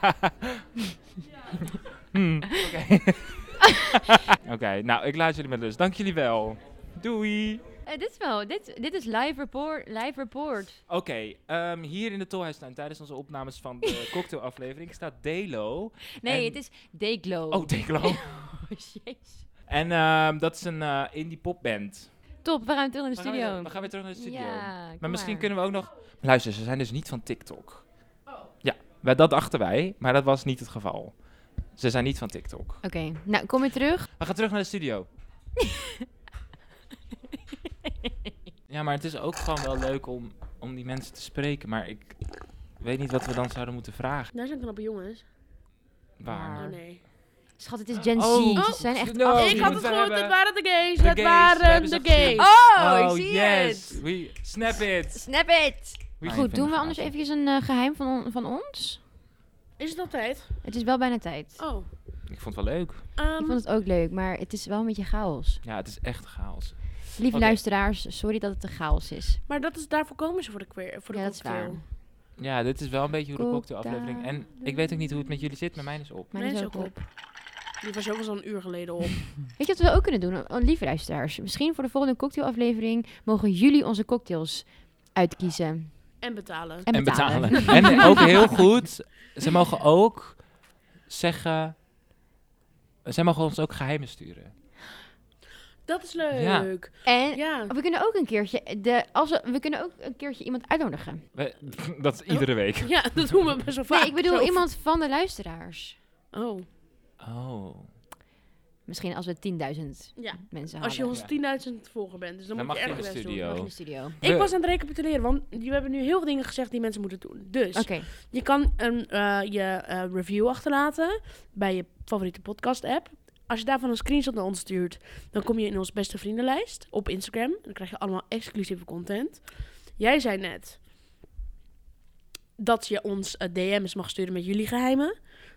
Hmm, Oké, Oké, nou, ik laat jullie met rust. Dank jullie wel. Doei. Eh, dit is wel, dit, dit is live report. Live report. Oké, ehm, hier in de Tolhuistuin tijdens onze opnames van de cocktailaflevering staat Delo. Nee, En- het is They Glow. Oh, Delo. jeez. En ehm, dat is een eh, indie popband. Top, we gaan terug naar We de gaan weer- studio. We gaan weer terug naar de studio. Ja, kom Maar misschien kunnen we ook nog. Luister, ze zijn dus niet van TikTok. Ja, wij, dat dachten wij, maar dat was niet het geval. Ze zijn niet van TikTok. Oké, nou kom weer terug. We gaan terug naar de studio. ja, maar het is ook gewoon wel leuk om, om die mensen te spreken. Maar ik weet niet wat we dan zouden moeten vragen. Daar zijn knappe jongens. Waar? Oh nee. Schat, het is Gen Z. Oh, Ze zijn echt no. af- die ik had het moeten we goed, hebben. het waren de gays. De het gays, we waren hebben ze de gezien. gays. Oh, ik zie yes! het. We snap it! Snap it. We Goed, doen we anders eventjes een eh, geheim van, on- van ons? Is het altijd? Het is wel bijna tijd. Oh. Ik vond het wel leuk. Ehm, Ik vond het ook leuk, maar het is wel een beetje chaos. Ja, het is echt chaos. Lieve Oké. luisteraars, sorry dat het een chaos is. Maar dat is, daarvoor komen ze voor de queer. Voor de Ja, dat is cocktail. waar. Ja, dit is wel een beetje hoe de Cocktail. cocktailaflevering. En ik weet ook niet hoe het met jullie zit, maar mijn is op. Maar Mijn dat is is ook ook op. Die was ook al zo'n uur geleden op. Weet je wat we ook kunnen doen? Oh, lieve luisteraars, misschien voor de volgende cocktailaflevering mogen jullie onze cocktails uitkiezen en betalen. en betalen. en ook heel goed, ze mogen ook zeggen. Zij mogen ons ook geheimen sturen. Dat is leuk. En Ja. we kunnen ook een keertje, de, als we, we kunnen ook een keertje iemand uitnodigen. We- dat is iedere week. Ja, dat doen we best wel vaak. Nee, ik bedoel zo. iemand van de luisteraars. Oh. Oh. Misschien als we 10.000 Ja. mensen Als je halen. ons 10.000 volger bent, dus dan, Dan moet mag je je echt in de best studio. doen. Mag in de studio. Oké. We- Ik was aan het recapituleren, want we hebben nu heel veel dingen gezegd die mensen moeten doen. Dus je kan een, eh, je eh, review achterlaten bij je favoriete podcast-app. Als je daarvan een screenshot naar ons stuurt, dan kom je in onze beste vriendenlijst op Instagram. Dan krijg je allemaal exclusieve content. Jij zei net dat je ons eh, DM's mag sturen met jullie geheimen.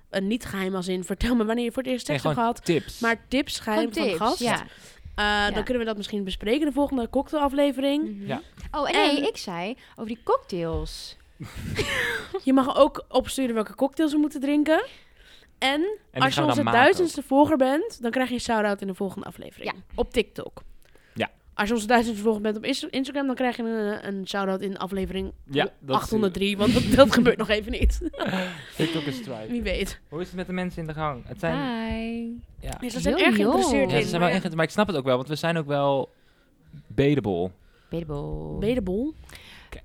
Eh, niet geheim als in vertel me wanneer je voor het eerst Nee, seks hebt gewoon gehad. tips. Maar tips, geheim Gewoon van de tips, gast. ja. Eh, Dan kunnen we dat misschien bespreken in de volgende cocktailaflevering. Mhm. Ja. Oh, en nee, En- ik zei over die cocktails. Je mag ook opsturen welke cocktails we moeten drinken. En En die als je gaan we onze dan maken duizendste volger bent, dan krijg je een shout-out in de volgende aflevering. Ja. Op TikTok. Ja. Als je onze duizendste volger bent op Insta- Instagram, dan krijg je een, eh, een shout-out in aflevering Ja, dat is- 803. Want dat, dat gebeurt nog even niet. Dus ook. TikTok is strijd. Wie weet. Hoe is het met de mensen in de gang? Het Ah. zijn. Hi. Ja. Dus ze zijn Heel erg jong. geïnteresseerd Ja, in. eh, ze zijn wel maar echt, maar ik snap het ook wel, want we zijn ook wel bedable. Bedebol. Ben je de bol?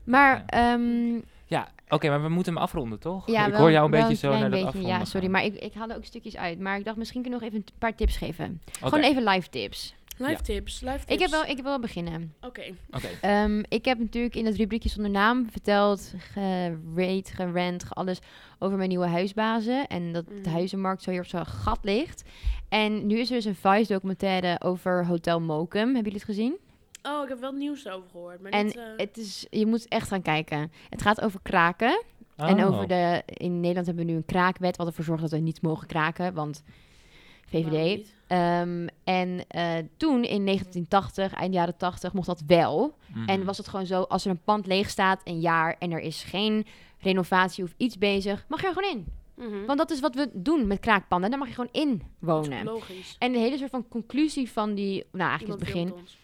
Maar, ehm Ja, oké, maar we moeten hem afronden, toch? ja, ik wel- hoor jou een wel beetje zo klein naar dat beetje, afronden. Ja, sorry, gaan. maar ik, ik haalde ook stukjes uit. Maar ik dacht, misschien kunnen we nog even een paar tips geven. Oké, Gewoon even live tips. Live Ja. tips, live tips. Ik, heb wel, ik wil wel beginnen. Oké. oké. Ehm, ik heb natuurlijk in het rubriekje zonder naam verteld, gerate, gerend, ge- alles over mijn nieuwe huisbazen. En dat Mhm. de huizenmarkt zo hier op zo'n gat ligt. En nu is er dus een Vice documentaire over Hotel Mokum. Hebben jullie het gezien? Oh, ik heb wel nieuws over gehoord. Maar En niet, eh, Het is, je moet echt gaan kijken. Het gaat over kraken. En Oh. over de. In Nederland hebben we nu een kraakwet, wat ervoor zorgt dat we niet mogen kraken, want waarom VVD. niet? Ehm, en eh, toen in 1980, eind jaren 80, mocht dat wel. Mhm. En was het gewoon zo, als er een pand leeg staat een jaar en er is geen renovatie of iets bezig, mag je er gewoon in. Mhm. Want dat is wat we doen met kraakpanden, daar mag je gewoon in wonen. Logisch. En de hele soort van conclusie van die, nou eigenlijk Iemand het begin. filmt ons.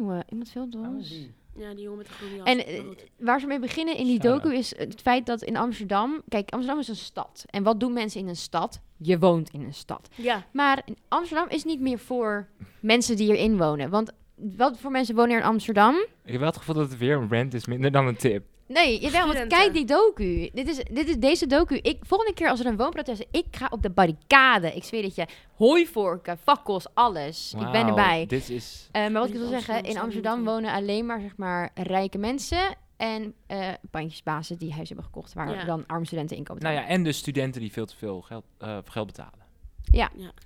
Oh, eh, iemand filmt ons. Ja, die jongen met de groene jas. En Maar eh, goed. waar ze mee beginnen in die Shout-out. docu is het feit dat in Amsterdam... Kijk, Amsterdam is een stad. En wat doen mensen in een stad? Je woont in een stad. ja, Maar in Amsterdam is niet meer voor mensen die hierin wonen. Want wat voor mensen wonen er in Amsterdam? Ik heb wel het gevoel dat het weer een rant is, minder dan een tip. Nee, jawel, want Studenten. kijk die docu. Dit is, dit is deze docu. Ik, volgende keer als er een woonprotest is, ik ga op de barricade. Ik zweer het je. Hooivorken, fakkels, alles. Ik ben Wauw, erbij. Dit is... Eh, maar wat ik Niet wil Amsterdam zeggen, in zou Amsterdam moeten. wonen alleen maar, zeg maar rijke mensen en eh pandjesbazen die huis hebben gekocht waar Ja. dan arme studenten inkomen. Nou ja, en dus studenten die veel te veel geld, eh, geld betalen.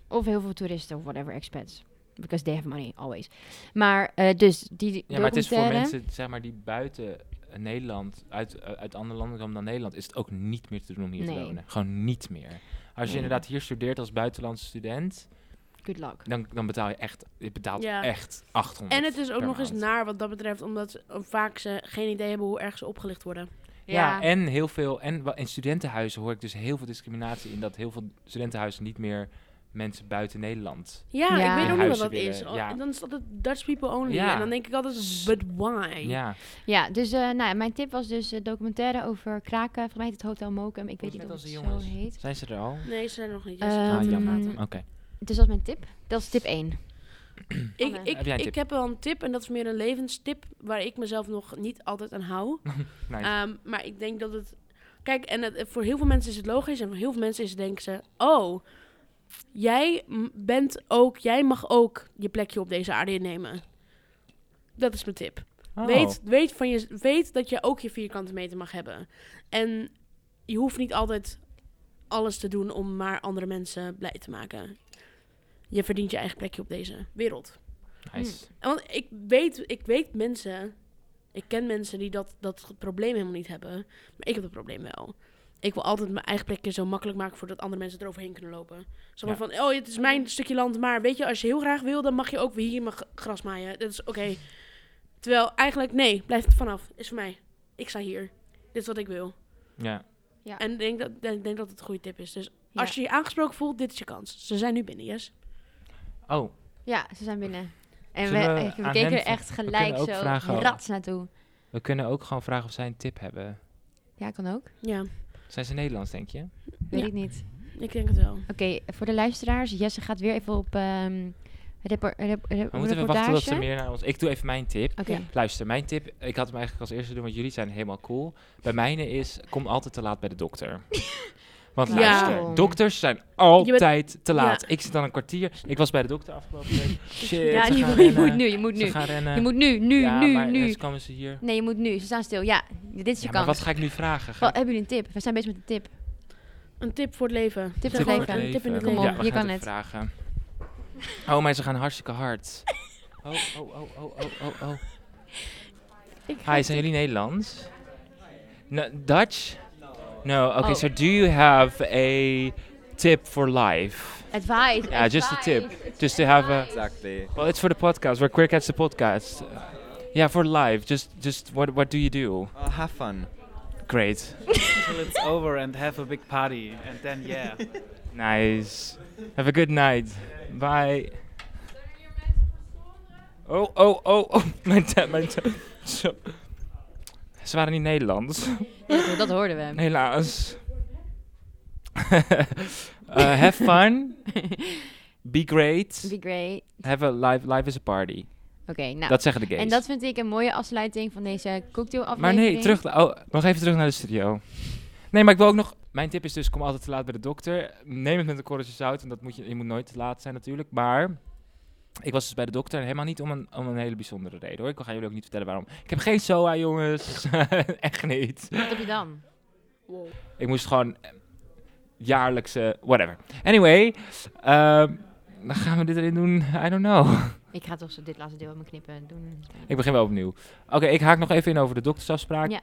Of heel veel toeristen of whatever expats. Because they have money, always. Maar eh, dus die Ja, maar het is voor documentaire- mensen, zeg maar, die buiten eh, Nederland, uit, eh, uit andere landen komen dan Nederland, is het ook niet meer te doen om hier te Nee. wonen. Gewoon niet meer. Als je Nee. inderdaad hier studeert als buitenlandse student, Good luck. dan, dan betaal je echt, je betaalt Ja. echt 800. En het is ook per nog eens maand. naar wat dat betreft, omdat ze, eh, vaak ze geen idee hebben hoe erg ze opgelicht worden. Ja, en heel veel. En wa- in studentenhuizen hoor ik dus heel veel discriminatie in dat heel veel studentenhuizen niet meer mensen buiten Nederland. Ja, Ja. ik weet ook In niet wat dat huizen is. Oh, willen, ja. En Dan is het altijd Dutch people only. Ja. En dan denk ik altijd, but why? Ja, Ja, dus eh, nou, ja, mijn tip was dus eh, documentaire over kraken. Volgens mij heet het Hotel Mokum. Ik weet Volgens niet mij of als het de zo jongens. heet. zijn ze er al? Nee, ze zijn nog niet. Eh, ah, jammer. Ehm, Oké. Dus dat is mijn tip. Dat is tip 1. ik, Anne. ik, Heb jij een ik tip? heb wel een tip en dat is meer een levenstip waar ik mezelf nog niet altijd aan hou. Nice. Ehm, maar ik denk dat het. Kijk, en het, voor heel veel mensen is het logisch. En voor heel veel mensen is denken ze: Oh, jij m- bent ook. Jij mag ook je plekje op deze aarde innemen. Dat is mijn tip. Oh. Weet, weet, van je, weet dat je ook je vierkante meter mag hebben. En je hoeft niet altijd alles te doen om maar andere mensen blij te maken. Je verdient je eigen plekje op deze wereld. Nice. En Want ik weet, ik weet mensen, ik ken mensen die dat, dat probleem helemaal niet hebben. Maar ik heb dat probleem wel. Ik wil altijd mijn eigen plekje zo makkelijk maken voordat andere mensen eroverheen kunnen lopen. Zo Ja. van, oh, het is mijn stukje land, maar weet je, als je heel graag wil, dan mag je ook weer hier mag gras maaien. Dat is oké. Terwijl eigenlijk, nee, blijf het vanaf. Is voor mij. Ik sta hier. Dit is wat ik wil. Ja. En ik denk dat, ik denk dat het een goede tip is. Dus Ja. als je je aangesproken voelt, dit is je kans. Ze zijn nu binnen, yes. Oh, Ja, ze zijn binnen. En we, Zullen we eh, we aan keken hen er vra- echt we kunnen gelijk ook zo vragen over- rats naartoe. we kunnen ook gewoon vragen of zij een tip hebben. Ja, kan ook. Ja, Zijn ze Nederlands, denk je? Weet Ja. ik niet. ik denk het wel. Oké, voor de luisteraars. Jesse gaat weer even op ehm repor- rep- rep- We moeten even wachten reportage. tot ze meer naar ons... Ik doe even mijn tip. Oké. Ja. Luister, mijn tip, ik had hem eigenlijk als eerste doen, want jullie zijn helemaal cool. Bij mijne is, kom altijd te laat bij de dokter. Want Ja. luister, dokters zijn altijd te ja. laat. Ik zit al een kwartier. Ik was bij de dokter afgelopen week. Shit, Ja, ze gaan je, moet- je rennen. moet nu, je moet Ze nu. gaan rennen. Je moet nu, nu, ja, nu, maar nu. dus komen ze hier. Nee, je moet nu. Ze staan stil. Ja, dit is je Ja, maar kans. wat ga ik nu vragen? Ga Wel, ik- hebben jullie een tip? We zijn bezig met een tip. Een tip voor het leven. Zeg Tip voor gewoon het leven. een Tip in het Kom leven. op, Ja, we je gaan kan het het. vragen. Oh, maar ze gaan hartstikke hard. Oh, oh, oh, oh, oh, oh, oh. Ik ga- Hi, zijn jullie Nederlands? No, Dutch? No. Okay, Oh. so do you have a tip for life? Advice. Yeah, just a tip. advice. It's Just to have a- advice. Exactly. Well, it's for the podcast. We're quick at the podcast. Yeah, for life. Just, just what, what do you do? Uh, have fun. Great. till it's over and have a big party and then yeah Nice. Have a good night. Bye. Oh, oh, oh, oh. Mijn tap, mijn tap. Zo. Ze waren niet Nederlands. Ja, dat hoorden we. Helaas. Uh, have fun. Be great. Be great. Have a life. Life is a party. Oké, nou. Dat zeggen de gays. en dat vind ik een mooie afsluiting van deze cocktailaflevering. maar nee, terug. Oh, nog even terug naar de studio. Nee, maar ik wil ook nog. Mijn tip is dus: kom altijd te laat bij de dokter. Neem het met een korreltje zout. En dat moet je, je moet nooit te laat zijn, natuurlijk. Maar ik was dus bij de dokter. en Helemaal niet om een, om een hele bijzondere reden hoor. Ik ga jullie ook niet vertellen waarom. Ik heb geen SOA, jongens. Echt niet. Wat heb je dan? Wow. Ik moest gewoon eh, jaarlijkse, whatever. Anyway, ehm, dan gaan we dit erin doen. I don't know. Ik ga toch zo dit laatste deel aan mijn knippen en doen. Ik begin wel opnieuw. Oké, ik haak nog even in over de doktersafspraak. Ja.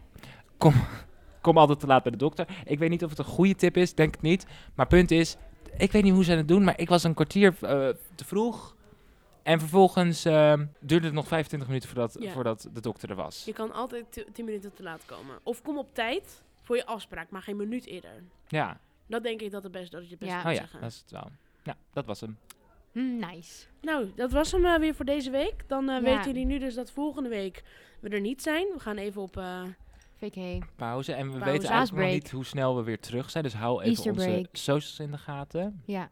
Kom, kom altijd te laat bij de dokter. Ik weet niet of het een goede tip is, denk het niet. Maar punt is, ik weet niet hoe ze het doen, maar ik was een kwartier eh, te vroeg. En vervolgens ehm, duurde het nog 25 minuten voordat, Ja. voordat de dokter er was. Je kan altijd t- 10 minuten te laat komen. Of kom op tijd voor je afspraak, maar geen minuut eerder. Ja, Dat denk ik dat het best dat het je best Ja. kan oh ja, zeggen. dat is het wel. Ja, dat was hem. Hm, nice. Nou, dat was hem eh, weer voor deze week. Dan eh, Ja. weten jullie nu dus dat volgende week we er niet zijn. We gaan even op... eh, VK. pauze. En we Pauze. weten eigenlijk nog Paasbreak. niet hoe snel we weer terug zijn. Dus hou even Easter onze break. socials in de gaten. Ja.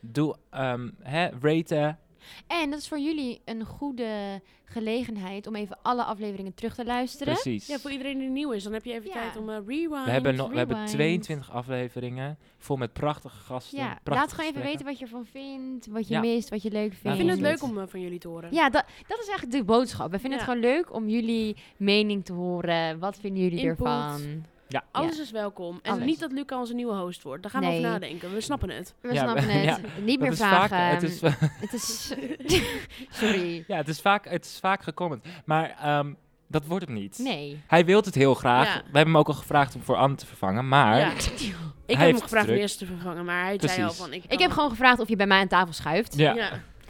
Doe, ehm hè, raten, En dat is voor jullie een goede gelegenheid om even alle afleveringen terug te luisteren. Precies. Ja, voor iedereen die nieuw is, dan heb je even Ja. tijd om eh, rewind. we, hebben nog, we hebben rewind. 22 afleveringen vol met prachtige gasten. Ja, prachtige laat gewoon even gesprekken. weten wat je ervan vindt, wat je Ja. mist, wat je leuk Ja, Ik vindt. vind het Rewind. leuk om eh, van jullie te horen. Ja, dat, dat is eigenlijk de boodschap. We vinden Ja. het gewoon leuk om jullie mening te horen. Wat vinden jullie Input. ervan? Alles is welkom. En Alles. niet dat Luca onze nieuwe host wordt. Daar gaan we Nee. over nadenken. We snappen het. We Ja, snappen we- het. ja. Niet Dat meer is vaak- vragen. het is Het is... Sorry. Ja, het is vaak, het is vaak gecomment. Maar ehm, dat wordt het niet. Nee. Hij wil het heel graag. Ja. We hebben hem ook al gevraagd om voor Anne te vervangen. Maar Ja. Ik Ik heb heeft hem gevraagd om druk. eerst te vervangen, maar hij zei al Precies. van... Ik, Ik heb gewoon gevraagd of je bij mij aan tafel schuift. Ja. Ja.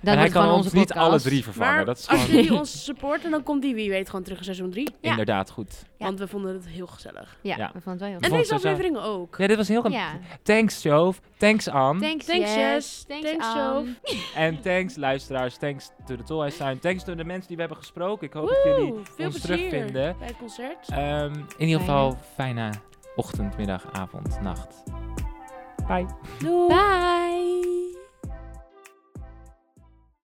Dan en hij wordt kan gewoon ons onze niet podcast. alle drie vervangen. Maar dat is als gewoon jullie ons supporten, dan komt die wie weet gewoon terug in seizoen 3. Ja. inderdaad goed. Ja. Want we vonden het heel gezellig. Ja, Ja. we vonden het wel heel Ik En vond deze het zo- aflevering ook. Ja, dit was heel... Ja. Thanks, Jove. Hm. Thanks, Anne. Thanks, Thanks, yes. Jess. Thanks, Thanks, Anne. En thanks, luisteraars. Thanks to the Tolhuis Tuin. Thanks to de mensen die we hebben gesproken. Ik hoop dat jullie Woe, veel ons plezier terugvinden. bij het concert. Ehm, in ieder geval, fijne ochtend, middag, avond, nacht. Bye. Doei. Bye.